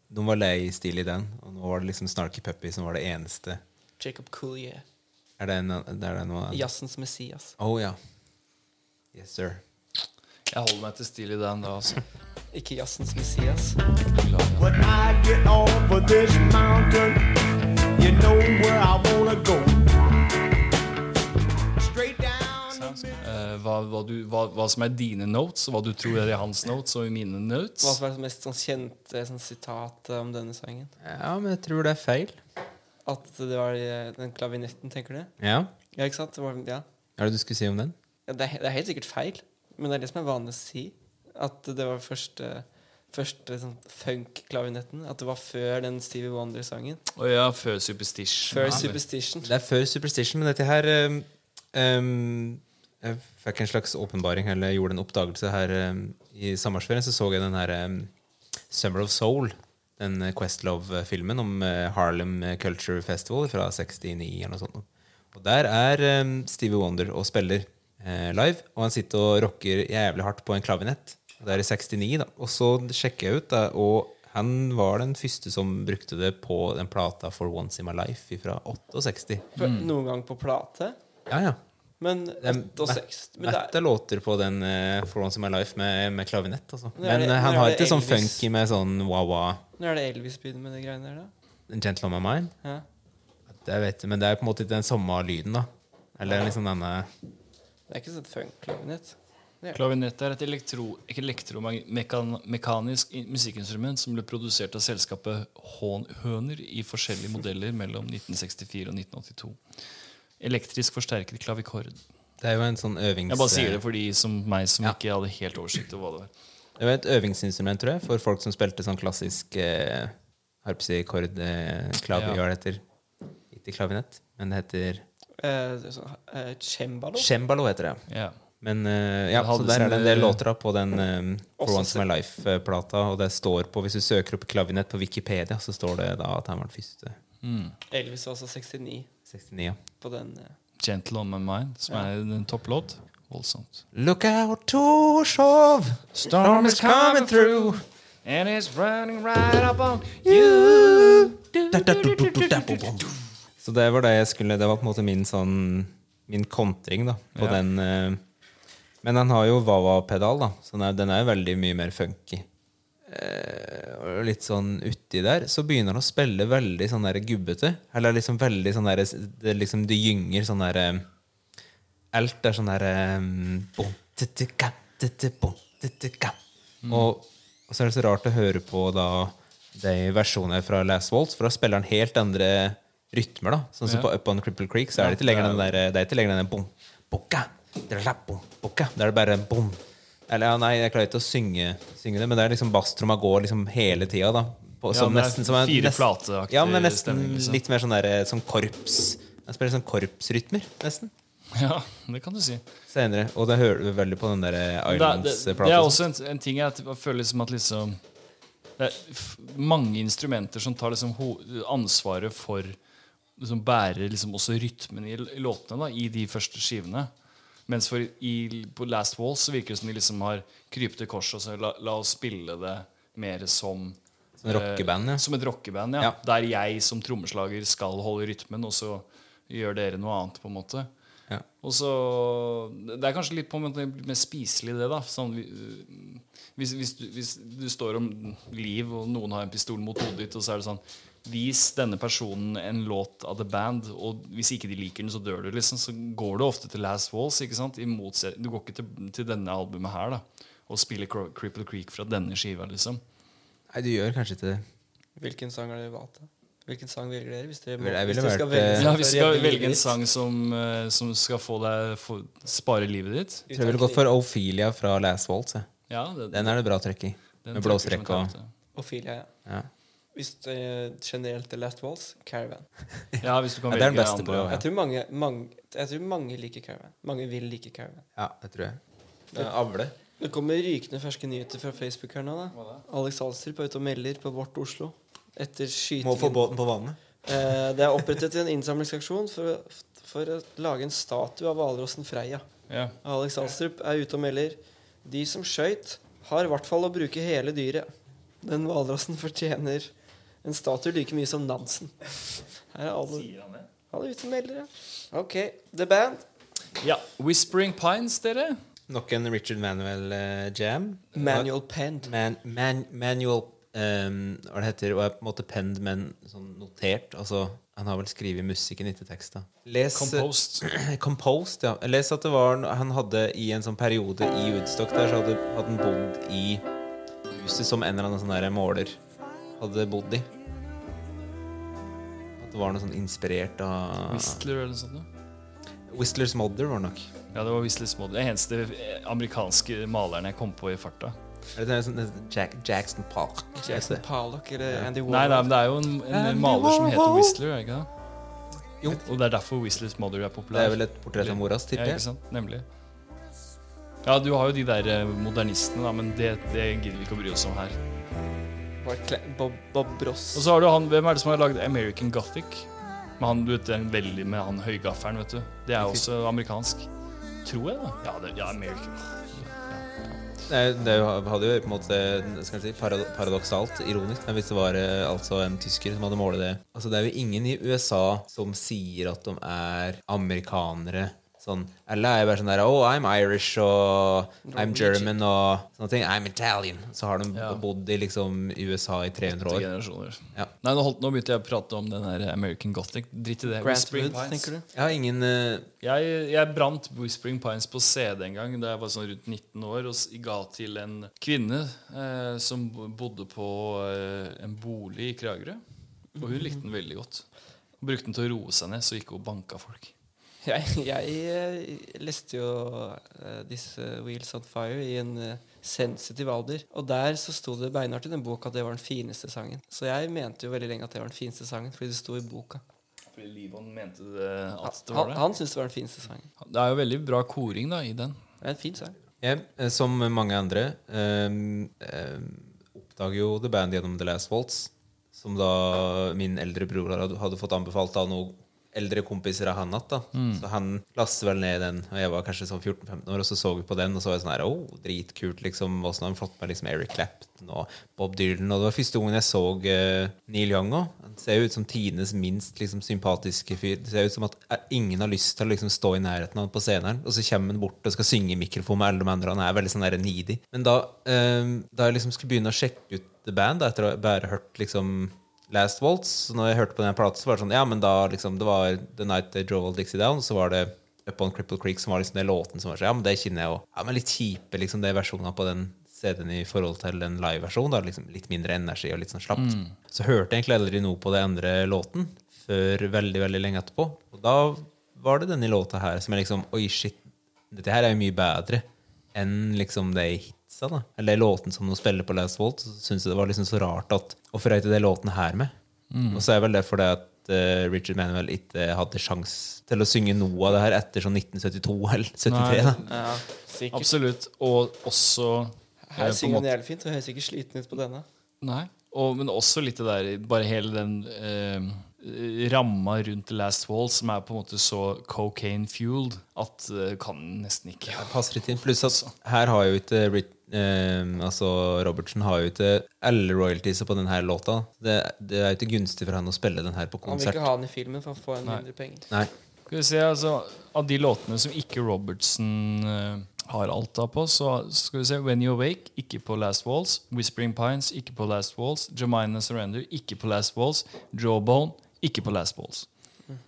De var lei stil i den, og nå var det liksom Snarky Puppy som var det eneste. Jacob Collier. Er det, en, er det noe annet? Jazzens Messias. Oh, ja. Yes, sir. Jeg holder meg til Steely Dan da. Altså. Ikke Jazzens Messias. Beklager. When I get off of this mountain, you know where I wanna go. Straight down the middle. Eh, hva, hva, du, hva, hva som er dine notes, og hva du tror er i hans notes og i mine notes. Hva som er det mest sånn kjente sånn, sitat eh, om denne sangen? Ja, men jeg tror det er feil. At det var eh, den klavinetten, tenker du? Ja. Ja, ikke sant? Det var, ja. Hva er det du skulle si om den? Ja, Det, er, he- det er helt sikkert feil, men det er det som er vanlig å si. At det var første, første sånn funk-klavinetten. At det var før den Stevie Wonder-sangen. Og ja, før Superstition. Før Ja, vel. Superstition. Det er før Superstition, men dette her ehm, ehm, Jeg fikk en slags åpenbaring, eller gjorde en oppdagelse her ehm, i sommerferien. Så så jeg den her ehm, Summer of Soul, den eh, Questlove-filmen om eh, Harlem Culture Festival fra 69 eller noe sånt. Og der er ehm, Stevie Wonder og spiller eh, live, og han sitter og rocker jævlig hardt på en klavinett. Og Det er i 69, da. Og så sjekker jeg ut, da, og han var den første som brukte det på den plata For Once In My Life fra 68. Før- Noen gang på plate. Ja, ja. Men Mm. Det er 68 Men det mett er, av låter på den eh, For Once In My Life med, med klavinett. Altså. Men er Men det- eh, han men er har det ikke sånn Elvis? funky med sånn wawa nå er det Elvis begynner med de greiene der, da. Gentleman Mine. Ja. Det vet jeg, men det er på en måte ikke den samme lyden, da. Eller liksom denne Det er ikke sånn funk-klavinett. Klavinett er et elektro, ikke elektromekanisk i- musikkinstrument som ble produsert av selskapet Hån Høner i forskjellige modeller mellom 1964 og 1982. Elektrisk forsterket klavikord. Det er jo en sånn øvings... Jeg bare sier det for de som meg som Ja. ikke hadde helt oversikt over hva det var. Det var et øvingsinstrument, tror jeg, for folk som spilte sånn klassisk eh, harpsikord eh, klav- Ja. hva det heter. Ikke klavinett, men det heter eh, sånn, eh, cembalo. Cembalo heter det. Ja. Men eh, ja, Det så hadde der er sine- det en del låter da på den eh, For Også Once My Life-plata. Og det står på, Hvis du søker opp klavinett på Wikipedia, så står det da at han var den første Elvis var altså 69 69. ja. på den. eh. 'Gentle On My Mind', som er en topplåt. Voldsomt. Look out, Torshov! Storm is coming through! And it's running right up on Så det var det jeg skulle Det var på en måte min sånn Min kontring da på Ja. den. eh, Men han har jo Wawa-pedal, da, så den er, den er jo veldig mye mer funky. Eh, og litt sånn uti der så begynner han å spille veldig sånn der gubbete. Eller liksom veldig sånn der Det, liksom, det gynger sånn der eh, Alt er sånn der eh, bom, tete-ka, tete, bom, tete-ka. Mm. og, og så er det så rart å høre på da de versjonene fra Last Waltz, for da spiller han helt andre rytmer. da Sånn som Ja. på Up on Cripple Creek så er det ikke lenger den der Det er ikke lenger den der bom, boka, drala, bom, boka. Da er det bare en bom. Eller ja, nei, jeg klarer ikke å synge, synge det, men det er liksom basstromma går liksom hele tida, da. På, Ja, som det er nesten som en- fire nest- plateaktig Ja, men nesten stemning, liksom. litt mer sånn derre som korps. Han spiller sånn korpsrytmer, nesten. Ja, det kan du si. Senere. Og det hører du veldig på den der eh, Men Det, er- det, det er Islands-plata. også en, en ting at jeg føler liksom at liksom Det er f mange instrumenter som tar liksom ho ansvaret for Som bærer liksom også rytmen i, l- i låtene da, i de første skivene. Mens for i, på Last Wall så virker det som de liksom har krypet til korset og så la, la oss spille det mer som eh, Som rockeband, ja. som et rockeband, ja. Ja. Der jeg som trommeslager skal holde rytmen, og så gjør dere noe annet, på en måte. Ja. Og så, Det er kanskje litt på en måte mer spiselig, det. da sånn, vi- hvis, hvis, du, hvis du står om liv, og noen har en pistol mot hodet ditt, og så er det sånn Vis denne personen en låt av The Band, og hvis ikke de liker den, så dør du. liksom Så går du ofte til Last Walls. ikke sant? I motset, du går ikke til, til denne albumet her da og spiller Cro- Cripple Creek fra denne skiva. liksom Nei, du gjør kanskje ikke det. Hvilken sang har dere valgt? da? Hvilken sang velger dere? Hvis dere, må, Vel, jeg hvis ville dere skal vært, velge, eh, sang Ja, før Hvis du skal jeg velge en ditt, sang som, eh, som skal få deg få, spare livet ditt Jeg tror jeg ville gått for Ophelia fra Last Waltz. jeg. ja, det, Den er det bra trøkk i. den Med trykker blåstrekk som og et helvete. Ophelia, ja. ja. Hvis eh, generelt The Last Walls, Caravan. Ja, hvis du kan Ja, det er velge den beste andre. på, ja. Jeg tror mange, mange, jeg tror mange liker Caravan. Mange vil like Caravan. ja, det tror jeg. Det er Avle. Det kommer rykende ferske nyheter fra Facebook her nå. da Alex Alstrup er ute og melder på Vårt Oslo etter skytingen. båten på vannet. Eh, det er opprettet en innsamlingsaksjon for, å- for å lage en statue av hvalrossen Freia. Ja. Alex Alstrup er ute og melder De som skøyt, har i hvert fall å bruke hele dyret. Den hvalrossen fortjener en statue like mye som Nansen. Her er alle, alle ute og melder, ja. OK. The Band. ja. Whispering Pines, dere. Nok en Richard Manuel-jam. Manual Penned. man, man, manual ehm, Hva det heter, og er på en måte penned, men sånn notert. Altså, han har vel skrevet musikken, ikke tekst. da. Les, Composed. Composed, ja. Jeg leste at det var, han hadde i en sånn periode i Woodstock der, så hadde, hadde han bodd i huset som en eller annen sånn der måler hadde bodd i. At det var noe sånn inspirert av Whistler eller noe sånt. da. Whistlers Mother, var det nok. Ja, det var Whistler Small. Den eneste eh, amerikanske maleren jeg kom på i farta. Er det sånn, Jack, Jackson Park? Jackson Pollock eller Andy Nei, nei, men Warhol. det er jo en, en maler som heter Whistler, er det ikke det? Jo. Og det er derfor Whistler Smother er Det populær. er vel et portrett av moras, ja, tipper ikke jeg. sant? Nemlig. Ja, du har jo de der eh, modernistene, da, men det, det gidder vi ikke å bry oss om her. Mark Cla- Bob, Bob Ross. Og så har du han, Hvem er det som har lagd American Gothic? Med han, du vet, den veldig med han høygaffelen, vet du. Det er også amerikansk. Tror jeg, da. Ja, det, ja American. Det, er- det hadde jo på en måte skal jeg si, parad paradoksalt ironisk men hvis det var eh, altså en tysker som hadde målet det. Altså Det er jo ingen i USA som sier at de er amerikanere. Sånn, Alle er jo bare sånn der Oh, I'm Irish og I'm German og sånne ting. I'm Italian. Så har de Ja. bodd i liksom USA i 300 Åtte år. generasjoner. Ja. Nei, nå, holdt, nå begynte jeg å prate om den der American Gothic. Dritt i det. Grant Whispering Wood, Pines. tenker du? Jeg har ingen eh, Jeg, jeg brant Whispering Pines på CD en gang da jeg var sånn rundt 19 år, og s- ga til en kvinne eh, som bodde på eh, en bolig i Kragerø. Og hun likte den veldig godt. Hun brukte den til å roe seg ned, så gikk hun og banka folk. Jeg, jeg eh, leste jo eh, disse Wheels on Fire i en eh, sensitiv alder. Og der så sto det beinhardt i den boka at det var den fineste sangen. Så jeg mente jo veldig lenge at det var den fineste sangen, fordi det sto i boka. fordi Livon mente det, at det var Han, det. han syns det var den fineste sangen. Det er jo veldig bra koring da, i den. Det er en fin sang. Jeg, eh, som mange andre, ehm, ehm, oppdager jo The Band gjennom The Last Waltz. Som da min eldre bror hadde- hadde fått anbefalt av noen eldre kompiser av han at. da Så han lastet vel ned den, og jeg var kanskje sånn 14-15 år, og så så vi på den, og så var jeg sånn her oh, dritkult, liksom. Åssen har han fått med liksom Eric Clapton og Bob Dylan? Og det var første gangen jeg så eh, Neil Young òg. Han ser jo ut som tidenes minst liksom, sympatiske fyr. Det ser ut som at eh, ingen har lyst til å liksom, stå i nærheten av han på scenen. Og så kommer han bort og skal synge i mikrofon med alle de andre. Han er veldig sånn der needy. Men da, eh, da jeg liksom skulle begynne å sjekke ut The Band, da, etter å ha bare hørt liksom Last Waltz, så når jeg hørte på den platen, så var det sånn Ja, men da liksom Det var The Night They Drove All Dixie Down, så var det Up On Cripple Creek, som var liksom den låten som var sånn Ja, men det kjenner jeg jo. Ja, men litt kjipe, liksom, de versjonene på den CD-en i forhold til en live-versjon. da, liksom Litt mindre energi og litt sånn slapt. Så hørte jeg egentlig aldri noe på den andre låten før veldig, veldig lenge etterpå. Og da var det denne låta her som jeg liksom Oi, shit. Dette her er jo mye bedre enn liksom de hitsa, da. Eller de låtene som de spiller på Last Volt. Så syns jeg det var liksom så rart at Hvorfor er ikke de låtene her med? Og så er vel det fordi at eh, Richard Manuel ikke hadde sjans til å synge noe av det her etter sånn 1972 eller 73. da Ja, sikkert. Absolutt. Og også eh, på Her en synger han måte- jævlig fint. og høres ikke sliten ut på denne. Nei. Og, men også litt det der Bare hele den eh, ramma rundt The Last Wall, som er på en måte så cocaine fueled at eh, kan nesten ikke passer ikke inn. Pluss at her har jo ikke Rit- eh, altså Robertsen har jo ikke alle royalties på denne låta. Det, det er jo ikke gunstig for han å spille den her på Han vil konsert. ikke ha den i filmen for å få en mindre penger. Nei. Skal vi se, altså Av de låtene som ikke Robertson eh, har alt av på, så skal vi se When You Awake, ikke på Last Walls. Whispering Pines, ikke på Last Walls. Jemina Surrender, ikke på Last Walls. Jawbone, ikke på Last Walls.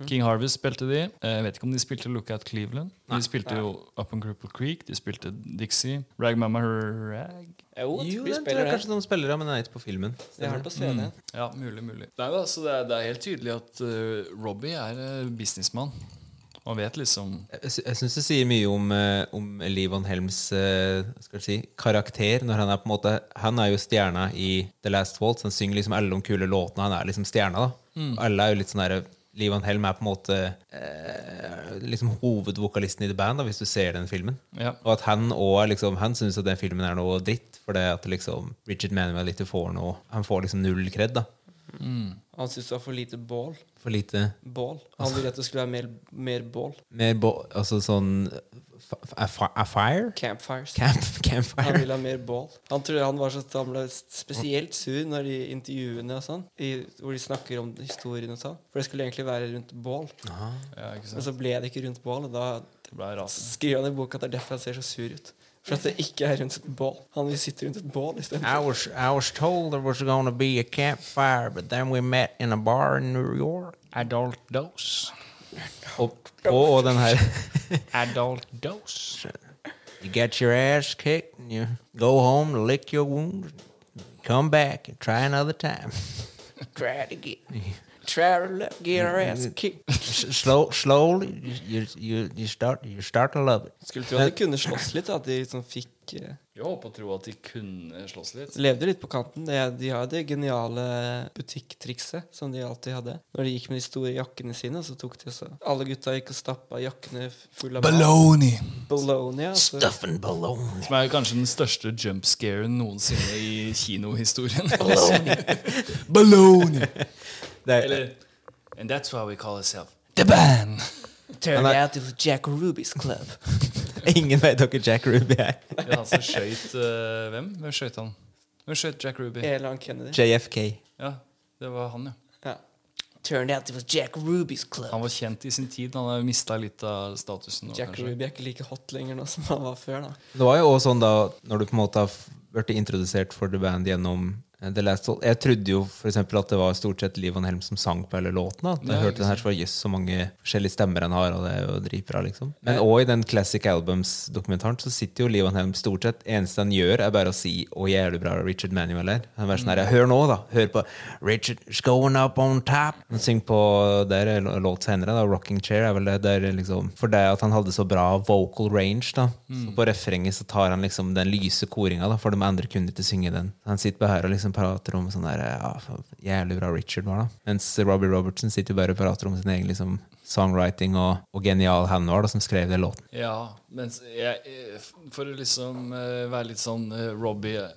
King Harvest spilte de. Eh, Jeg vet ikke om de spilte Lookout Cleveland. De spilte jo Up on Cripple Creek, de spilte Dixie. Rag Mama Rag. Jo, jeg Jo, tror vi den tror spiller Mm. jeg den. kanskje de spiller, ja, men den er ikke på filmen. Jeg har den på CD-en. Ja, mulig, mulig. Nei, da, så det, er, det er helt tydelig at eh, Robbie er eh, businessmann. Han vet liksom Jeg, sy- jeg syns det sier mye om, eh, om Livon Helms eh, skal jeg si, karakter. når Han er på en måte, han er jo stjerna i The Last Waltz. Han synger liksom alle de kule låtene. Han er liksom stjerna. da. Og Alle er jo litt sånn der, Livon Helm er på en måte eh, liksom hovedvokalisten i The Band, da, hvis du ser den filmen. Ja. Og at han også, er liksom, han syns at den filmen er noe dritt, fordi at liksom Richard Manuel ikke får noe Han får liksom null kred, da. Han syntes det var for lite bål. For lite Bål. Altså- Han ville at det skulle være mer, mer bål. mer bo... Altså sånn f- f- A fi- a fire? Campfires. Camp, Han campfire? ville ha mer bål. Han tror han var så at han ble spesielt sur når de intervjuene og sånn, i, hvor de snakker om historien og sånn. For det skulle egentlig være rundt bål, ja, ikke men sant? så ble det ikke rundt bål. Og da Det ble rasende. skriver han i boka at det er derfor han ser så sur ut. For at det ikke er rundt et bål. Han vil sitte rundt et bål I istedenfor. was I was told there was going to be a campfire, but then we met in a bar in New York. Adult dose. Oh, Og, og, og den her Adult dose. You get your ass kicked, and you go home to lick your wounds. Come back and try another time. Try to get Try to love, get our ass kicked. S- slow, slowly, you, you you start you start to love it. Skulle tro at de kunne slåss litt, at de sånn fikk eh, Jeg håper og tror at de kunne slåss litt. Levde litt på kanten. De, de har det geniale butikktrikset som de alltid hadde. Når de gikk med de store jakkene sine, så tok de også Alle gutta gikk og stappa jakkene fulle av Baloney! Bologna. Altså. Stuffing bologna. Som er kanskje den største jumpscaren noensinne i kinohistorien. Baloney! det er, Eller And that's why we call ourselves The Band. Turned Men det- out it was Jack Rubies Club. Ingen vet dere Jack Ruby er. Det er han som skøyt eh, Hvem? Hvem skøyt han? Hvem skøyt Jack Ruby? Eh. Elan Kennedy. JFK. Ja, det var han, ja. Ja. Turned out it was Jack Rubies Club. Han var kjent i sin tid. Han har mista litt av statusen nå, Jack kanskje. Ruby er ikke like hot lenger nå som han var før. da Det var jo også sånn da Når du på en måte har blitt introdusert for The Band gjennom eh, The Last Wall Jeg trodde jo for eksempel at det var stort sett Liv og Helm som sang på alle låtene. At jeg Ja, hørte den her så var jøss så mange forskjellige stemmer han har, og det er jo dritbra, liksom. Men òg i den Classic Albums-dokumentaren så sitter jo Liv og Helm stort sett Eneste han gjør, er bare å si 'Å, jævlig bra Richard Manuel er'. Han er sånn her Hør nå, da. Hør på Richard's going up on top. Han synger på der er lå- låt senere, da, 'Rocking Chair'. er vel det der liksom, For det at han hadde så bra vocal range, da. Så på refrenget så tar han liksom den lyse koringa, da, for de andre kunne ikke synge den. Han sitter bare her og liksom liksom prater om sånn der ja, for jævlig bra Richard var, da. Mens Robbie Robertson sitter jo bare og prater om sin egen liksom, songwriting og, og genial han var, da, som skrev den låten. Ja, mens jeg, eh, for å liksom eh, være litt sånn eh,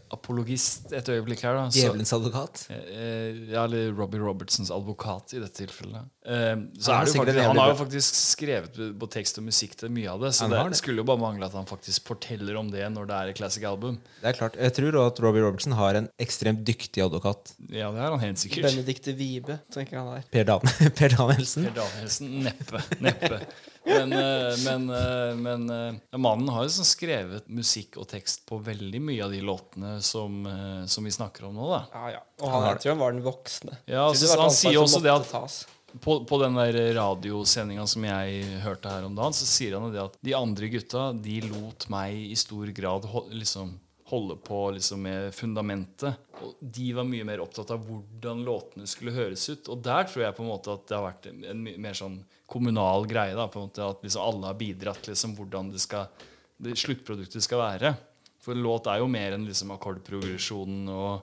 Robbie-apologist et øyeblikk her, da så- Djevelens advokat. Eh, Ja, eller Robbie Robertsons advokat i dette tilfellet. Eh, Så Han er han, er det jo sikkert en faktisk, han jævlig har jo bra- faktisk skrevet på tekst og musikk til mye av det, så Han det, har det. skulle jo bare mangle at han faktisk forteller om det når det er et classic album. Det er klart. Jeg tror også at Robbie Robertson har en ekstremt dyktig advokat. Ja, det er han helt sikkert. Benedicte Vibe, tenker jeg han er. Per, Dan per Danielsen. Per Danielsen, neppe. neppe. Men, eh, men, eh, men eh, ja, mannen har jo sånn skrevet musikk og tekst på veldig mye av de låtene som, eh, som vi snakker om nå. da Ja, ja. Og han, jeg tror han var den voksne. Ja, Jeg tror så det var han et ansvar sier som også det måtte at- tas. På, på den der radiosendinga som jeg hørte her om dagen, så sier han jo det at de andre gutta de lot meg i stor grad ho liksom holde på liksom med fundamentet. Og de var mye mer opptatt av hvordan låtene skulle høres ut. Og der tror jeg på en måte at det har vært en my- mer sånn kommunal greie. da, på en måte At liksom alle har bidratt liksom hvordan det skal det sluttproduktet skal være. For en låt er jo mer enn liksom akkordprogresjonen. og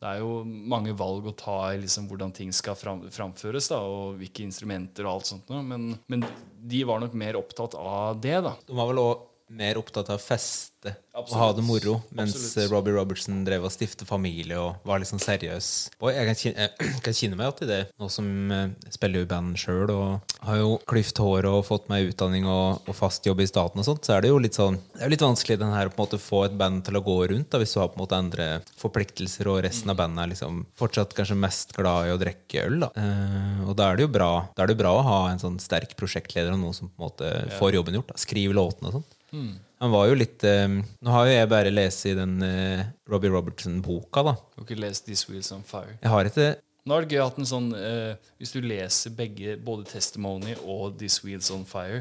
Det er jo mange valg å ta i liksom hvordan ting skal fram, framføres, da, og hvilke instrumenter og alt sånt. noe. Men, men de var nok mer opptatt av det. da. De var vel òg mer opptatt av å feste og Absolutt. ha det moro, mens Absolutt. Robbie Robertson drev og stifte familie og var litt sånn seriøs. Og jeg kan kjenne, jeg kan kjenne meg igjen i det, nå som eh, spiller jo i band sjøl og har jo klyft hår og fått meg utdanning og, og fast jobb i staten og sånt, så er det jo litt sånn Det er jo litt vanskelig den her å på en måte få et band til å gå rundt, da, hvis du har på en måte andre forpliktelser og resten av bandet er liksom fortsatt kanskje mest glad i å drikke øl, da. Eh, og da er det jo bra, da er det jo bra å ha en sånn sterk prosjektleder og noen som på en måte får jobben gjort, da. skriver låtene og sånt. Han var jo litt eh, Nå har jo jeg bare lest i den eh, Robbie Robertson-boka, da. Du har ikke lest 'This Wheels on Fire'. Jeg har ikke Nå er det gøy at en sånn, eh, Hvis du leser begge, både 'Testimony' og 'This Wheels on Fire',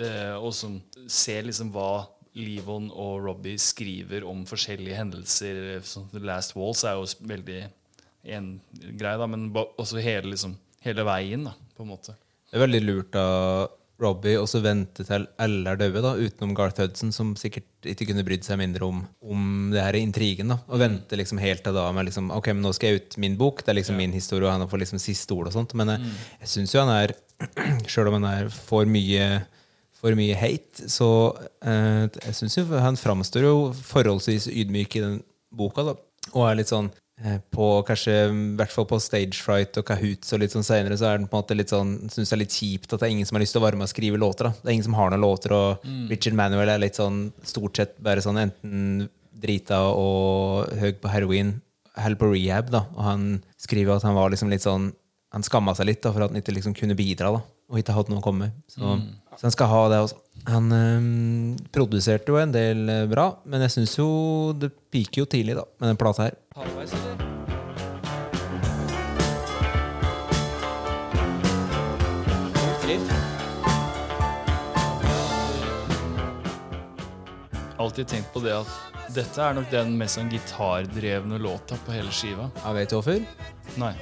eh, og som ser liksom hva Livon og Robbie skriver om forskjellige hendelser eh, sånn, The Last Walls er jo s- veldig en greie, da, men ba, også hele, liksom, hele veien, da, på en måte. Det er veldig lurt av Robbie å så vente til alle er døde, da, utenom Garth Hudson, som sikkert ikke kunne brydd seg mindre om, om det her intrigen. da, Og vente liksom helt til da med liksom Ok, men nå skal jeg ut min bok, det er liksom min historie, og han får liksom siste ord og sånt. Men jeg, jeg syns jo han er Sjøl om han er for mye for mye hate, så eh, jeg syns jo han framstår jo forholdsvis ydmyk i den boka, da. Og er litt sånn eh, på kanskje, i hvert fall på Stage Fright og Kahoots og litt sånn senere, så er den på en måte litt sånn synes det er litt kjipt at det er ingen som har lyst til å være med og skrive låter. da. Det er ingen som har noen låter, og Richard Manuel er litt sånn stort sett bare sånn enten drita og høy på heroin, holder på rehab, da. Og han skriver at han var liksom litt sånn han skamma seg litt da, for at han ikke liksom kunne bidra. da, Og ikke hadde noe å komme med. Så, Mm. så han skal ha det også. Han øhm, produserte jo en del øh, bra, men jeg syns jo det piker jo tidlig da, med den plata her. Halvveis, eller? Alltid tenkt på det at dette er nok den mest sånn gitardrevne låta på hele skiva. Jeg vet du hvorfor? Nei.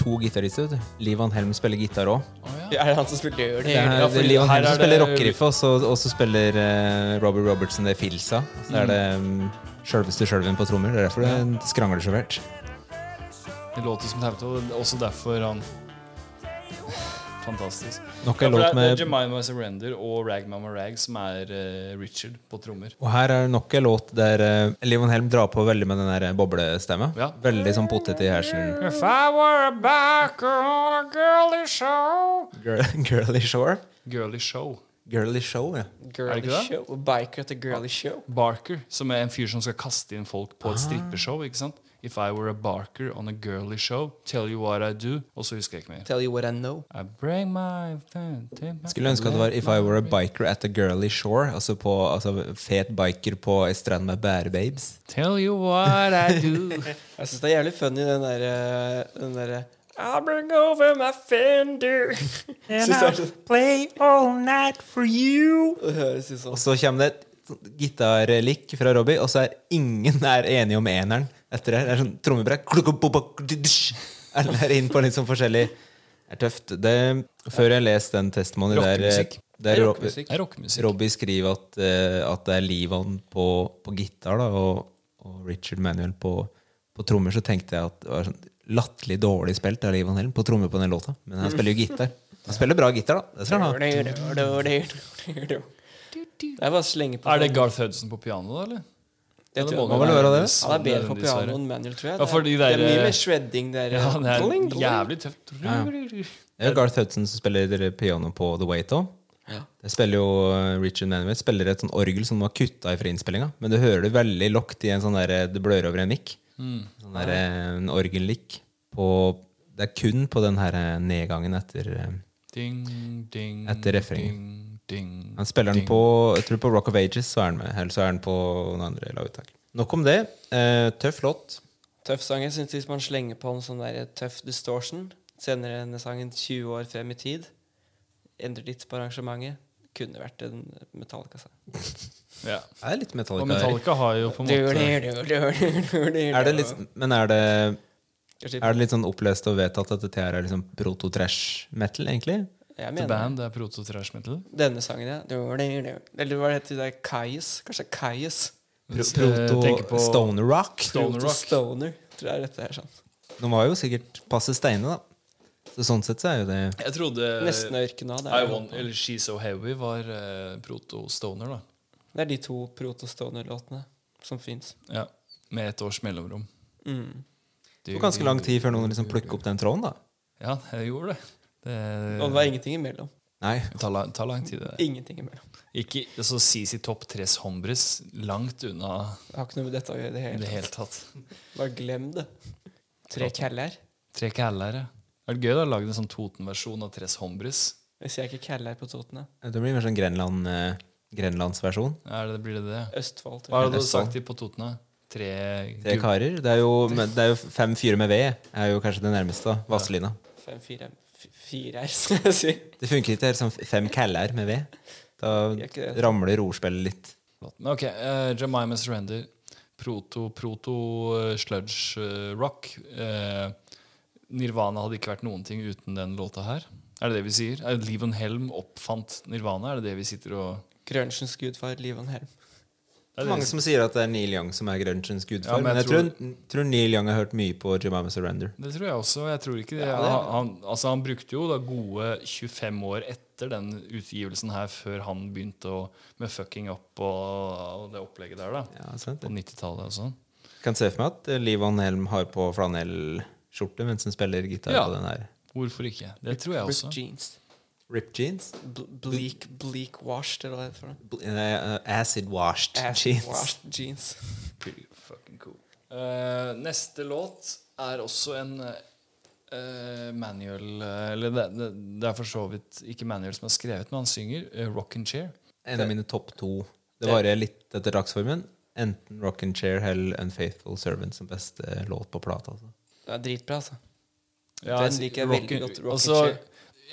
To gitarister. vet du. Liv Van Helm spiller gitar òg. Å, ja. Er det han som spilte gjør det? Det er, Ja, fordi Liv Van her Helm som er det- spiller rockeriff, og så og så spiller øh, Robert Robertson det filsa. Så Mm. er det um, sjølveste sjølven på trommer. Det er derfor det skrangler så fælt. Det låter som tauta, og det er også derfor han Fantastisk. Nok Ja, en for det låt er, det er med Jemima Surrender og Rag Mama Rag som er eh, Richard på trommer. Og her er nok en låt der uh, Livon Helm drar på veldig med den der boblestemma. Ja. Veldig sånn potet i hersen. If I were a backer on a girly show Girl, girly shore. Girly show. Girly show, ja. Er det Girly ikke det? show. Biker at the girly show. Barker, som er en fyr som skal kaste inn folk Ah. på et strippeshow. ikke sant? If I were a barker on a girly show, tell you what I do. Og så husker jeg ikke mer. Tell you what I know. I bring my take my- Skulle ønske at det var If I Were A Biker At A Girly Shore. Altså, på, altså fet biker på ei strand med bærebabes. Tell you what I do. Jeg syns det er jævlig funny, den derre den der, eh, I'll bring over my fender. And Sister. I'll play all night for you. Det høres ut som Og så kommer det et sånt gitarlick fra Robbie, og så er ingen er enige om eneren etter det. Det er sånn trommebrett. Klukk, bok, bok, dusj. Alle er inn på litt sånn forskjellig Det er tøft. Det, før jeg leste den testimony der, eh, Rockemusikk. der Robbie- rockmusikk. Det er rockemusikk. Robbie skriver at, eh, at det er Livon på, på gitar da, og, og Richard Manuel på, på trommer, så tenkte jeg at det var sånn latterlig dårlig spilt av Liv Van Hellen på trommer på den låta. Men han spiller jo gitar. Han spiller bra gitar, da. Det skal han ha. Det er bare å slenge på. sånn- Er det Garth Hudson på piano, da? eller? Jeg må tror det må vel være det. Han er bedre på nødvendigvis piano være. enn manual, tror jeg. Ja, for de det, der- er, det er mye mer shredding der. Ja, det er Dling, dling. jævlig tøft. Det er jo Garth Hudson som spiller eh, piano på The Wait òg. Det spiller jo eh, Richard Manuel spiller et sånn orgel som var kutta i fra innspillinga. Men du hører det veldig lokt i en sånn der eh, Det blør over en mic. Sånn der, eh, en orgellikk på Det er kun på den her eh, nedgangen etter eh, Ding, ding, Etter refrenget. Ding, ding, Han spiller den ding. på Jeg tror på Rock of Ages så er han med. Eller så er han på noen andre laguttak. Nok om det. Eh, tøff låt. Tøff sang. Jeg synes Hvis man slenger på en sånn der tøff distortion, senere denne sangen 20 år frem i tid, endrer litt på arrangementet, kunne vært en Metallica-sang. Ja. Det er litt Og Metallica. Metallica har jo på en måte Er Er det litt, men er det, er det litt sånn opplest og vedtatt at dette her er liksom proto-trash-metal, egentlig? Jeg The mener Band er proto-trash metal. denne sangen, ja. Eller hva heter det der? Kais? Kanskje Kais? Hvis jeg tenker på- Proto-stoner rock. Stoner Proto rock. Stoner, tror jeg dette er sånn. De var jo sikkert passe steine, da. Så sånn sett så er jo det Jeg trodde Nesten ørkena. Det Eh, I er, want, eller She's So Heavy var eh, proto-stoner, da. det er de to Proto Stoner-låtene som fins. Ja. Med et års mellomrom. Mm. Det tok ganske lang tid før noen liksom plukket opp den tråden, da. Ja, jeg gjorde det. det Og det var ingenting imellom. Nei. det tar, lang, tar lang tid, det der. Ingenting imellom. Ikke så CC Topp Tres Hombres langt unna Det har ikke noe med dette å gjøre i det i det hele hele tatt. tatt. Bare glem det. Tre caller. Tre kæller, ja. Er det gøy da å lage en sånn Toten-versjon av Tres Hombres? Hvis jeg ikke caller på Toten, da. Det blir mer sånn Grenland, eh, Grenlandsversjon. Er det, blir det det? Østfold. Hva Tror jeg. har du Østfold. sagt til på Toten, da? Tre, Tre gu- karer. Det er jo, men det er jo fem fyrer med ved. Er jo kanskje det nærmeste. da. Vazelina. Fem, fire, f- fire her, skal jeg si. Det funker ikke helt som fem kæller med ved. Da Gjør ikke det. ramler ordspillet litt. Men ok, eh, Jemima Surrender. Proto, proto eh, sludge eh, rock. Eh, Nirvana hadde ikke vært noen ting uten den låta her. Er det det vi sier? Er det Liv on Helm oppfant Nirvana? Er det det vi sitter og Grunchens gudfar, Livon Helm. er det Mange det, som sier at det er Neil Young som er grunchens gudfar, Ja, men, jeg tror, tror Neil Young har hørt mye på Jemima Surrender. det tror jeg også. Jeg tror ikke det. Ja, det er- Han, altså han brukte jo da gode 25 år etter den utgivelsen her, før han begynte å, med fucking up og, og det opplegget der, da. Ja, sant? På 90-tallet og sånn. Jeg kan se for meg at eh, Liv Van Helm har på flanellskjorte mens hun spiller gitar Ja. på den her. Hvorfor ikke? Det tror jeg også. Ripped jeans. Rip jeans? Bl bleak, bleak washed, eller hva det heter for noe. Bl- eh, Acid washed Ass jeans. Washed jeans. Pretty fucking cool. Eh, neste låt er også en eh, manual eh, Eller det, det, det er for så vidt ikke manual som er skrevet, men han synger eh, Rock and Chair. En av mine topp to. Det varer litt etter dagsformen. Enten Rock and Chair eller Unfaithful Servant som beste låt på plata. Altså. Det er dritbra, altså. Ja, Den liker jeg veldig godt, Rock and Chair.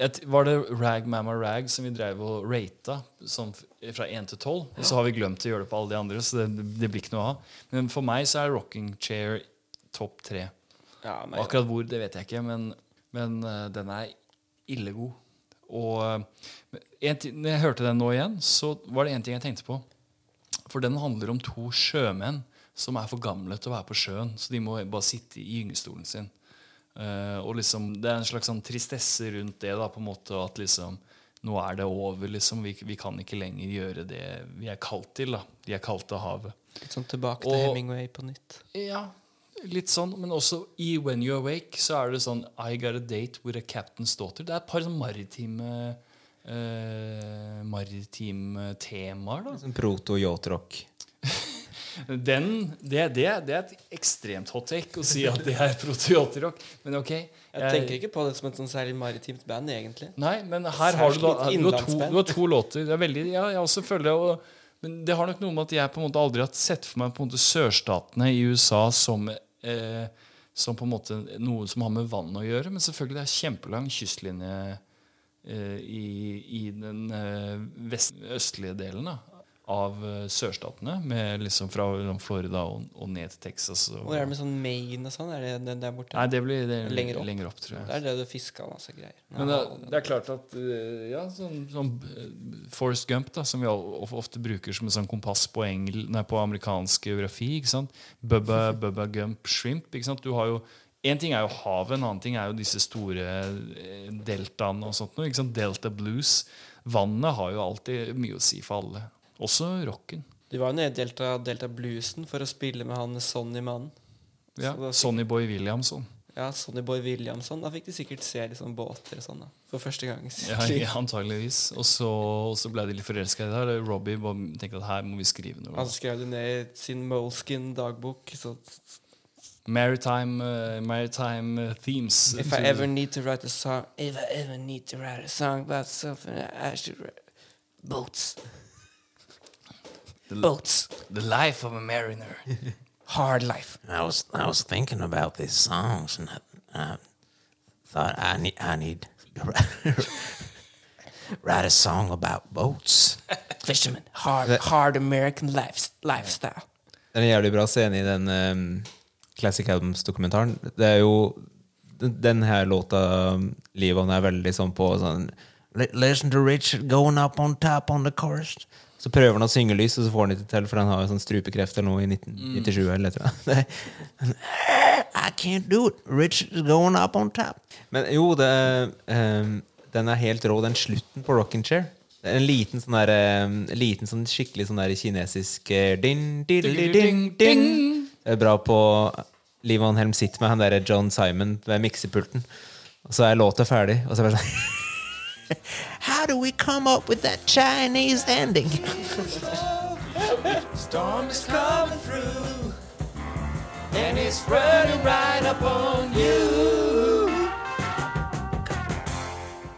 et, var det Rag Mamma Rag som vi drev og rata sånn f- fra 1 til 12? Og så har vi glemt å gjøre det på alle de andre, så det, det blir ikke noe av. Men for meg så er Rocking Chair topp tre. Ja, Og men, Akkurat hvor, det vet jeg ikke, men, men eh, den er illegod. Og eh, en ti- når jeg hørte den nå igjen, så var det én ting jeg tenkte på. For den handler om to sjømenn som er for gamle til å være på sjøen. Så de må bare sitte i gyngestolen sin. Eh, og liksom, Det er en slags sånn tristesse rundt det. da, på en måte At liksom, nå er det over. liksom, Vi, vi kan ikke lenger gjøre det vi er kalt til. da, Vi er kalt til havet. litt sånn tilbake til Og- Hemingway på nytt. Ja, litt sånn. Men også i When You Awake så er det sånn I got a date with a captain's daughter. Det er et par sånn maritime eh, maritime temaer, da. Sånn Proto-yacht-rock. Den, det, det, det er et ekstremt hot take å si at det er proteotrock. Men ok. Jeg tenker ikke på det som et sånn særlig maritimt band, egentlig. Nei, men her har du da Særskilt du har to, innlandsband. du har to låter. Det er veldig, ja, jeg også føler det. Og, men det har nok noe med at jeg på en måte aldri har sett for meg på en måte sørstatene i USA som, eh, som på en måte noe som har med vann å gjøre. Men selvfølgelig det er kjempelang kystlinje eh, i, i den eh, vest, østlige delen. Da. av eh, sørstatene, med liksom fra Florida og, og ned til Texas. Og, Hvor er det med sånn Maine og sånn? Er det den der borte? Nei, det blir det, er Lenger opp. lenger opp, tror jeg. Der drev du og fiska masse greier. Men det, det er klart at eh, ja, sånn, sånn eh, Forrest Gump, da, som vi al- of- ofte bruker som en sånn kompass på, engel, nei, på amerikansk geografi ikke sant? Bubba, Bubba Gump Shrimp. Ikke sant? Du har jo, en ting er jo havet, en annen ting er jo disse store eh, deltaene og sånt. noe, Ikke sant? Delta blues. Vannet har jo alltid mye å si for alle. Også rocken. Du var jo nede i Delta, Delta Bluesen for å spille med han Sonny-mannen. Ja. Så da fikk- Sonny Boy Williamson. Ja, Sonny Boy Williamson. Da fikk de sikkert se litt sånn båter og sånn da for første gang. i sitt Ja, liv. antageligvis. Og så, og så ble de litt forelska i det her. og Robbie bare tenkte at her må vi skrive noe. Han skrev det ned i sin Moleskin-dagbok. Så Maritime, uh, maritime uh, themes. If I ever need to write a song If I ever need to write a song about something I should write Boats. Boats. The life of a mariner. Hard life. I was I was thinking about these songs and I, I thought I need I need to write a song about boats. Fisherman. Hard, hard American life, lifestyle. Det er en jævlig bra scene i den ehm, Classic Albums-dokumentaren. Det er jo den- den her låta um, Livon er veldig sånn på sånn Li- Listen to Richard going up on top on the chorus. Så prøver han å synge lys, og så får han ikke til, for han har jo sånn strupekreft eller noe i 1997. eller et eller annet. Det er- I can't do it. Richard's going up on top. Men jo, det, ehm, den er helt rå, den slutten på Rockin' Chair. Det er En liten sånn der, ehm, liten sånn skikkelig sånn der kinesisk eh, din, di, di, di, ding, ding. Det er bra på Liv Van Helm sitter med han der John Simon ved miksepulten. Og så er låta ferdig, og så er det bare sånn How do we come up with that Chinese ending?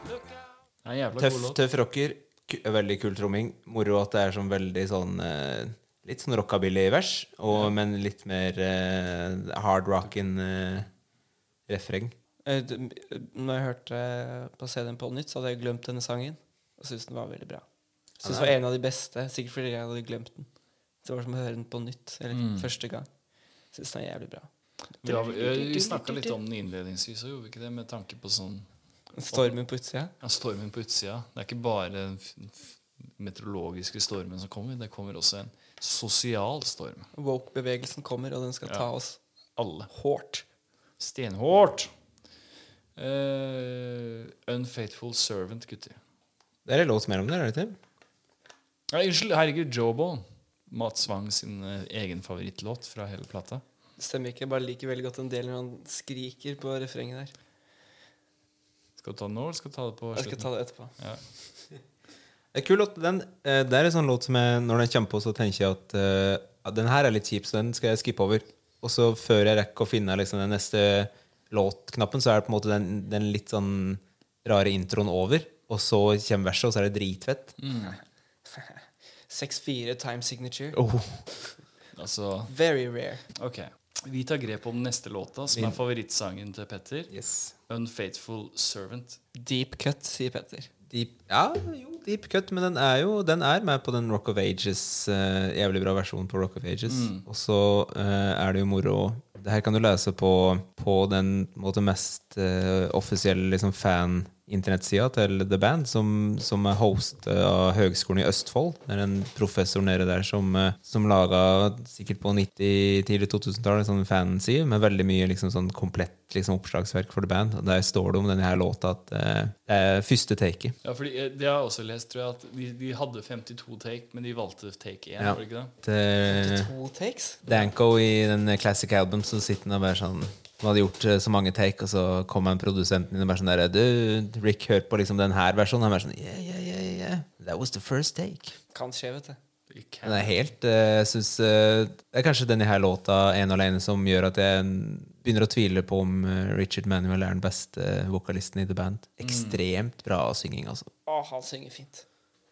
Det er en jævla Tøff, god låt. tøff rocker, ku- veldig kul tromming. Moro at det er sånn veldig sånn eh, Litt sånn rockabilly-vers, og- men litt mer eh, hard rockin' eh, refreng. Eh, d- m- eh, Når jeg hørte eh, på CD-en på nytt, så hadde jeg glemt denne sangen. Og syntes den var veldig bra. Synes det var en av de beste, sikkert fordi jeg hadde glemt den. Så det var som å høre den på nytt, eller Mm. første gang. Synes den er jævlig bra. Vi, har- eh, vi snakka litt om den innledningsvis, og gjorde vi ikke det? Med tanke på sånn Stormen på utsida. ja, stormen på utsida. Det er ikke bare den f- f- meteorologiske stormen som kommer, det kommer også en sosial storm. Woke-bevegelsen kommer, og den skal ta oss Alle. hårt. Stenhårt. Eh, unfaithful servant, gutter. Det er en låt mellom der, er det ikke? Nei, unnskyld, herregud, Jobo. Mats Wang sin eh, egen favorittlåt fra hele plata. Det stemmer ikke. Jeg bare liker veldig godt den delen når han skriker på refrenget der. Skal du ta den nå, eller skal du ta det på Jeg skal ta det etterpå. Det er kul låt. Den, eh, det er en sånn låt som jeg, når den kommer på, så tenker jeg at eh, ja, den her er litt kjip, så den skal jeg skippe over. Og så før jeg rekker å finne liksom, den neste låtknappen, så er det på en måte den, den litt sånn rare introen over. Og så kommer verset, og så er det dritfett. Mm. 6-4 time signature. Oh. Altså, Very rare. ok. Vi tar grep om den neste låta, som er favorittsangen til Petter. Yes. 'Unfaithful Servant'. Deep cut, sier Petter. Deep, ja, jo, deep cut, men den er jo Den er med på den Rock of Ages. eh, jævlig bra versjon på Rock of Ages. Og så eh, er det jo moro Det her kan du lese på, på den på en måte, mest eh, offisielle liksom, fan-internettsida til The Band, som, som er host eh, av Høgskolen i Østfold. Det er en professor nede der som, eh, som laga, sikkert på 90-, tidlig 2000-tall, en sånn fanside med veldig mye liksom, sånn komplett liksom, oppslagsverk for The Band. Og der står det om denne her låta at eh, det er første taket. Ja, fordi eh, Det har jeg også lest, tror jeg. at De, de hadde 52 take, men de valgte take 1. Ja. Var det ikke det? eh, To takes. Danko i den classic album så sitter han og bare sånn Han hadde gjort eh, så mange take, og så kom en produsenten inn og bare sånn der Du, Rick, hør på liksom den her versjonen. Han bare sånn Yeah, yeah, yeah, yeah. That was the first take. Kan skje, vet du. It Den can- er helt eh, Jeg synes, eh, Det er kanskje denne her låta ene og alene som gjør at jeg begynner å tvile på om eh, Richard Manuel er den beste eh, vokalisten i the band. Ekstremt bra synging, altså. Å, han synger fint.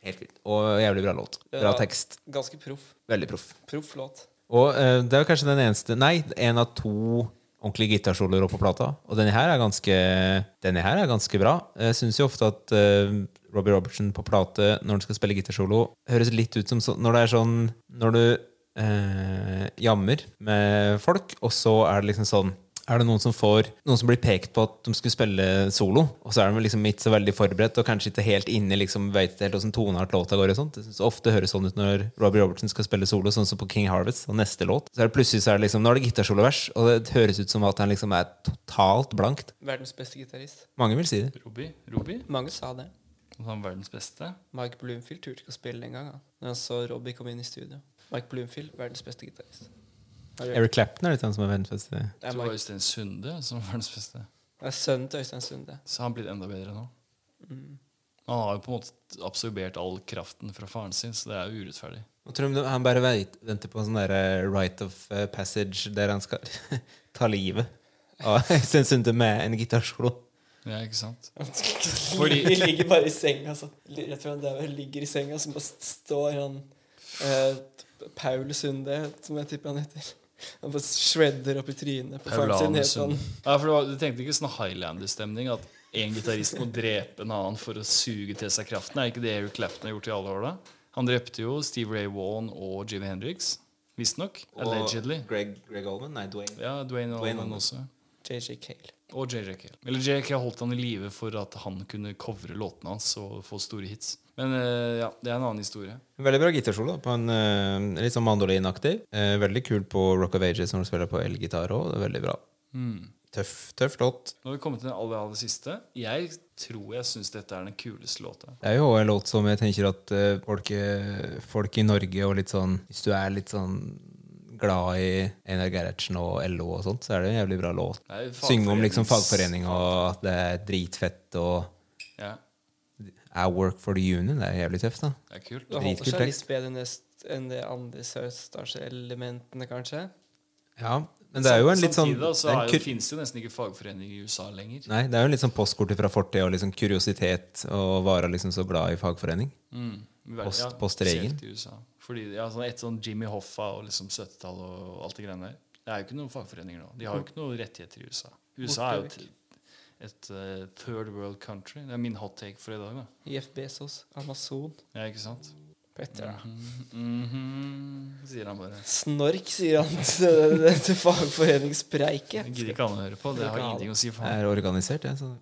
Helt vilt. Og jævlig bra låt. Bra Ja. tekst. Ganske proff. Veldig proff. Proff låt. Og eh, det er kanskje den eneste Nei, en av to ordentlige gitarsoloer på plata. Og denne her er ganske Denne her er ganske bra. Jeg syns jo ofte at eh, Robbie Robertson på plate når han skal spille gitarsolo, høres litt ut som så, når det er sånn Når du eh, jammer med folk, og så er det liksom sånn er det noen som får Noen som blir pekt på at de skulle spille solo, og så er de liksom ikke så veldig forberedt og kanskje ikke helt inne liksom vet helt hvordan toneart låta går og sånt. Jeg synes ofte høres sånn ut når Robbie Robertson skal spille solo, sånn som på King Harvest, og neste låt. Så er det plutselig så er det liksom, nå er det gitarsolo-vers, og det høres ut som at han liksom er totalt blankt. Verdens beste gitarist. Mange vil si det. Robbie? Robbie? Mange sa det. Han er verdens beste? Mike Bloomfield turte ikke å spille engang han, Når han så Robbie komme inn i studio. Mike Bloomfield, verdens beste gitarist. Har du hørt? Eric Clapton er litt han som er verdens beste. Det Jeg er, tror det var Mike, Øystein Sunde som var verdens beste. det er sønnen til Øystein Sunde. Så han har blitt enda bedre nå. Mm. Han har jo på en måte absorbert all kraften fra faren sin, så det er jo urettferdig. Og tror du han bare veit- venter på en sånn derre right of eh, passage der han skal ta livet av Øystein Sunde med en gitarsolo? Ja, ikke sant? Fordi... De ligger bare i senga, altså. Rett før han dauer, ligger i senga, så bare st- står han eh, Paul Sunde, som jeg tipper han heter. Han bare shredder opp i trynet på faren sin. Paulane Helt Sunde. sånn. Ja, for det var, du tenkte ikke sånn Highlander-stemning? At én gitarist må drepe en annen for å suge til seg kraften? Er ikke det Eric Clapton har gjort i alle år, da? Han drepte jo Steve Ray Vaughan og Jimmy Hendrix. Visstnok. Allegedly. Greg, Greg Olman? Nei, Dwayne. Ja, Dwayne Dwayne Allman Allman. også. JJ Cale. Og JJ Cale. Eller JJ Cale holdt han i live for at han kunne covre låtene hans og få store hits. Men eh, ja, det er en annen historie. Veldig bra gitarsolo. da, På en eh, litt sånn mandolinaktig. Eh, veldig kult på Rock of Ages når du spiller på elgitar òg. Veldig bra. Mm. Tøff, tøff låt. Nå har vi kommet til den aller, aller siste. Jeg tror jeg syns dette er den kuleste låta. Det er jo også en låt som jeg tenker at eh, folk, eh, folk i Norge og litt sånn Hvis du er litt sånn glad i Einar Gerhardsen og LO og sånt, så er det en jævlig bra låt. Det er jo Synge om liksom fagforenings- fagforening og at det er dritfett og Ja, I work for the union. Det er jævlig tøft, da. det er kult. Det holder Dritkul seg litt tekst. bedre enn det, enn det andre Sørstars-elementene, kanskje. Ja, men det er jo en litt sånn Samtidig da, så det er en er kur- jo, finnes det jo nesten ikke fagforeninger i USA lenger. Nei, det er jo litt sånn postkort fra fortida og liksom kuriositet og være liksom så glad i fagforening. I verden- Post- ja, postregel. spesielt i USA. Fordi ja, sånn Et sånn Jimmy Hoffa og liksom 70-tall og alt det greiene der. Det er jo ikke noen fagforeninger nå. De har jo ikke noen rettigheter i USA. USA er jo et, et eh, third world country. Det er min hot take for i dag, da. Jeff Bezos, Amazon, Ja, ikke sant? Petter. Mm. da. Mhm, Sier han bare. Snork, sier han til, til Det fagforeningspreiket. gidder ikke han å høre på. Det har ingenting å si for Det ham. er sånn organisert, det. så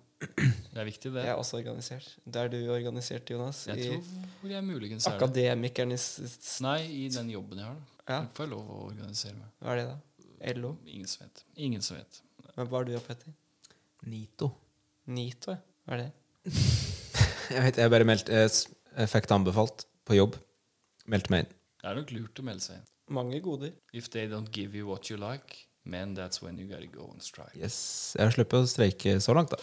Det er viktig, det. Jeg er også organisert. Det er du organisert, Jonas. Jeg I tror jeg muligens er det. akademikernes s- Nei, i den jobben jeg har, da. Ja. Får jeg lov å organisere meg? Hva er det, da? LO? Ingen som vet. Ingen som vet. Men Hva er du oppe etter? Nito. Nito, ja. Hva er det? Jeg vet, jeg bare meldte jeg s- jeg fikk det anbefalt på jobb. Meldte meg inn. Det er nok lurt å melde seg inn. Mange goder. If they don't give you what you like, men that's when you gotta go on strike. Yes. Jeg har sluppet å streike så langt, da.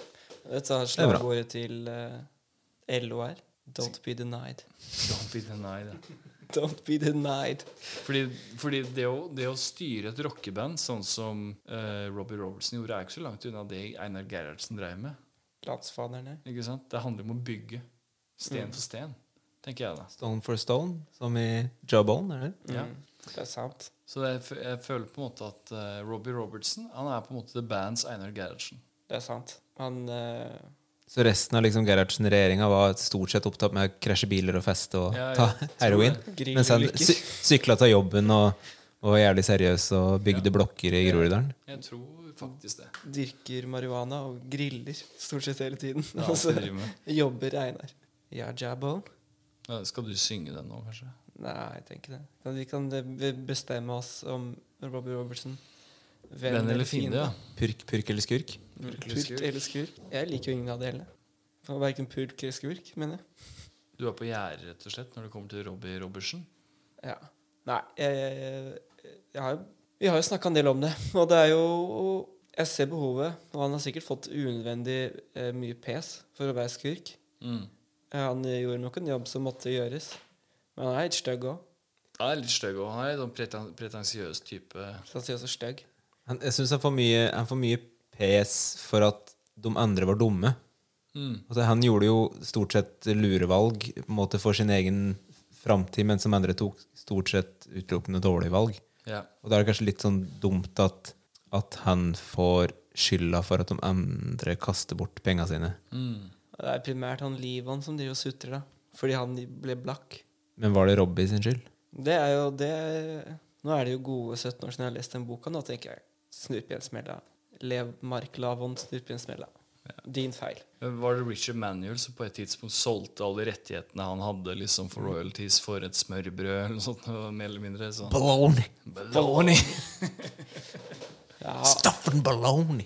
Vet du hva er bra. slagordet til eh, LO er? Don't be denied. Don't be denied. da. Don't be denied. Fordi, fordi det, å, det å styre et rockeband sånn som eh, Robbie Robertson gjorde, er ikke så langt unna det Einar Gerhardsen drev med. Landsfaderne. Ikke sant? Det handler om å bygge sten for sten, tenker jeg da. Stone for stone, som i Jawbone, er det? Mm. Ja. Det er sant. Så jeg, f- jeg føler på en måte at eh, Robbie Robertson han er på en måte the bands Einar Gerhardsen. Det er sant. Han eh, Så resten av liksom Gerhardsen-regjeringa var stort sett opptatt med å krasje biler og feste og Ja, jeg ta tror heroin. Grill Mens han ulykker. sy sykla til jobben og, og var jævlig seriøs og bygde blokker i Groruddalen. Jeg tror faktisk det. dyrker marihuana og griller stort sett hele tiden. er alt Og så han driver med. jobber Einar. Ja, Jabbo? Ja, skal du synge den nå, kanskje? Nei, jeg tenker det. Kan- Vi kan eh, be- bestemme oss om Robbie Robertson. Venn Venn eller fiende, ja. Purk, purk eller skurk? Pult eller skurk. Jeg liker jo ingen av delene. Verken pulk eller skurk, mener jeg. Du er på gjerdet, rett og slett, når det kommer til Robbie Robertsen. Ja. Nei, jeg, jeg, jeg har, jo- vi har jo snakka en del om det. Og det er jo Jeg ser behovet, og han har sikkert fått unødvendig eh, mye pes for å være skurk. Mm. Eh, Han gjorde nok en jobb som måtte gjøres. Men han er litt stygg òg. Han er litt stygg òg. Han er en sånn pretan- pretensiøs type. Han sier også stygg. Han, jeg syns han får mye, han får mye pes for at de andre var dumme. Altså, han gjorde jo stort sett lurevalg på en måte for sin egen framtid, mens de andre tok stort sett utelukkende dårlige valg. Ja. Og da er det kanskje litt sånn dumt at, at han får skylda for at de andre kaster bort penga sine. Og det er primært han Livon som driver og sutrer, da. Fordi han ble blakk. Men var det Robbie sin skyld? Det er jo det Nå er det jo gode 17 år siden jeg har lest den boka. Nå tenker jeg snurp igjen smella. Lev Mark Lavon, snurp igjen smella. Din feil. Var det Richard Manuel som på et tidspunkt solgte alle rettighetene han hadde liksom for royalties for et smørbrød eller noe sånt? noe mer eller mindre sånn. Baloney. Baloney! Ja, Stuff and baloney.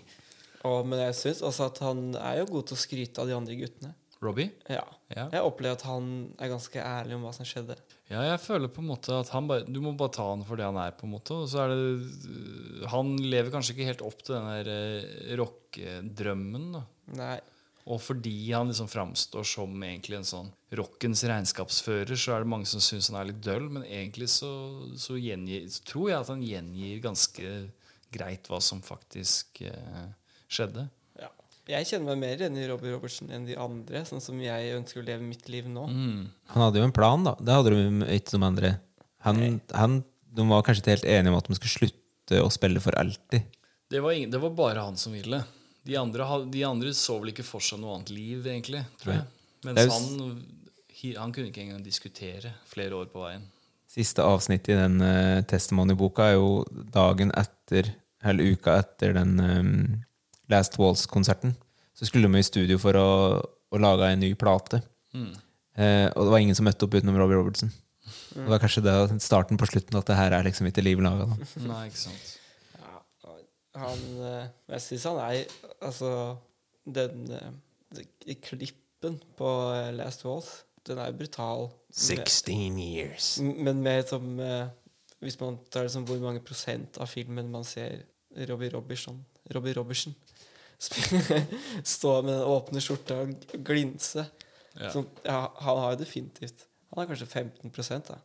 og, men jeg syns også at han er jo god til å skryte av de andre guttene. Robbie? Ja. Ja. Jeg opplever at han er ganske ærlig om hva som skjedde. Ja, jeg føler på en måte at han bare, du må bare ta han for det han er, på en måte. Og så er det Han lever kanskje ikke helt opp til den der eh, rockedrømmen, da. Nei. Og fordi han liksom framstår som egentlig en sånn rockens regnskapsfører, så er det mange som syns han er litt døll, men egentlig så, så, gjengir, så tror jeg at han gjengir ganske greit hva som faktisk eh, skjedde. Ja. Jeg kjenner meg mer igjen i Robbie Robertsen enn de andre, sånn som jeg ønsker å leve mitt liv nå. Han hadde jo en plan, da. Det hadde de ikke som andre. Han, han, de var kanskje ikke helt enige om at de skulle slutte å spille for alltid. Det var, ingen, det var bare han som ville. De andre, ha- de andre så vel ikke for seg noe annet liv, egentlig. tror jeg. Mens Det er jo s- han, hi- han kunne ikke engang diskutere flere år på veien. Siste avsnittet i den eh, testimony-boka er jo dagen etter, eller uka etter den eh, Last Walls-konserten. Så skulle de i studio for å, å lage en ny plate. Eh, og det var ingen som møtte opp utenom Robbie Robertson. Det var kanskje det starten på slutten, at det her er liksom ikke liv laga. Nei, ikke sant? Ja, han eh, Jeg syns han er Altså, den eh, de- de klippen på eh, Last Walls, den er brutal. 16 years. Men- Men mer som eh, Hvis man tar det som hvor mange prosent av filmen man ser Robbie Robertson Robbie Robertson spille- stå med den åpne skjorta og gl- glinse. Ja. Som, ja, han har jo definitivt Han har kanskje 15 da,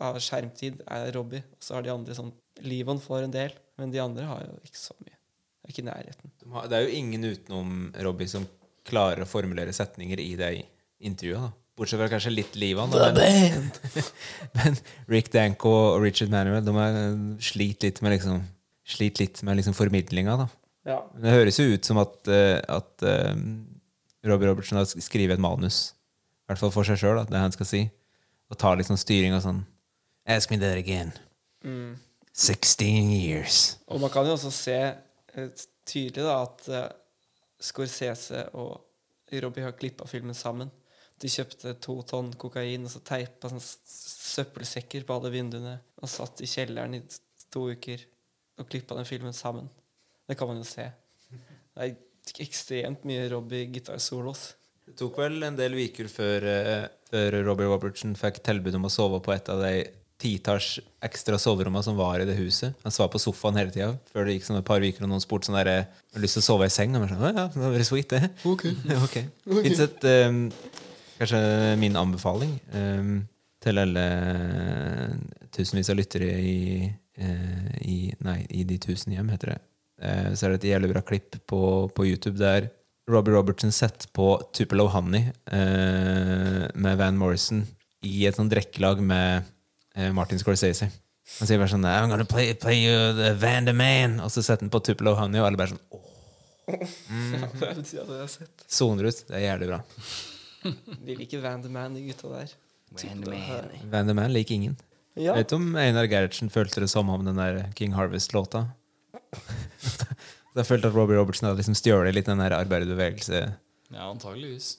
av skjermtid er Robbie. Og så har de andre sånn Livon får en del, men de andre har jo ikke så mye. Det er ikke i nærheten. Det er jo ingen utenom Robbie som klarer å formulere setninger i det intervjuet. da. Bortsett fra kanskje litt livet han. da, men- Men Rick Danko og Richard Manuel de er, sliter litt med liksom Sliter litt med liksom formidlinga, da. Ja. Men det høres jo ut som at, eh, at eh, Robbie Robertson har sk- skrevet et manus. I hvert fall for seg sjøl, det han skal si. Og tar liksom styringa sånn. Ask me that again. 16 years. Og man kan jo også se eh, tydelig da at eh, Scorsese og Robbie har klippa filmen sammen. De kjøpte to tonn kokain og så teipa sånn s- søppelsekker på alle vinduene og satt i kjelleren i t- to uker og klippa den filmen sammen. Det kan man jo se. Det er ekstremt mye Robbie gitarsolos. Det tok vel en del uker før, eh, før Robbie Robertson fikk tilbud om å sove på et av de titalls ekstra soverommene som var i det huset. Han var på sofaen hele tida før det gikk sånn et par uker, og noen spurte sånn derre Har du lyst til å sove i seng? Og jeg var sånn, «Å ja, det hadde vært sweet, det. Ja, ok. Fins et ehm, Kanskje min anbefaling ehm, til alle tusenvis av lyttere i, eh, i Nei, i De tusen hjem, heter det. Eh, så er det et jævlig bra klipp på, på YouTube der Robbie Robertson setter på Tupelo Honey eh, med Van Morrison i et sånt drekkelag med eh, Martin Scorsese. Han sier bare sånn I'm gonna play, play you the Van the Man. Og så setter han på Tupelo Honey, og alle bare sånn åh, Ja, det er- det har jeg sett. soner ut. Det er jævlig bra. De liker Van the Man, de gutta der. Van the Man liker ingen. Ja. Vet du om Einar Gerhardsen følte det samme om den der King Harvest-låta? jeg følte at Robbie Robertson hadde liksom stjålet litt den der arbeiderbevegelse. Ja, antageligvis.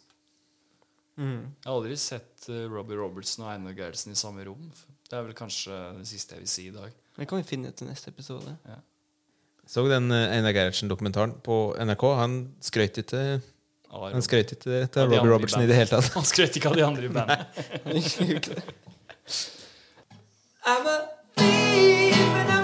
Mm. Jeg har aldri sett eh, Robbie Robertson og Einar Gerhardsen i samme rom. Det er vel kanskje det siste jeg vil si i dag. Det kan vi finne ut i neste episode. Så den eh, Einar Gerhardsen-dokumentaren på NRK. Han skrøt ikke Av Han Robbie. skrøt ikke til Av de andre Robbie Robertson i det hele tatt. Han skrøt ikke av de andre i bandet. I'm a thief and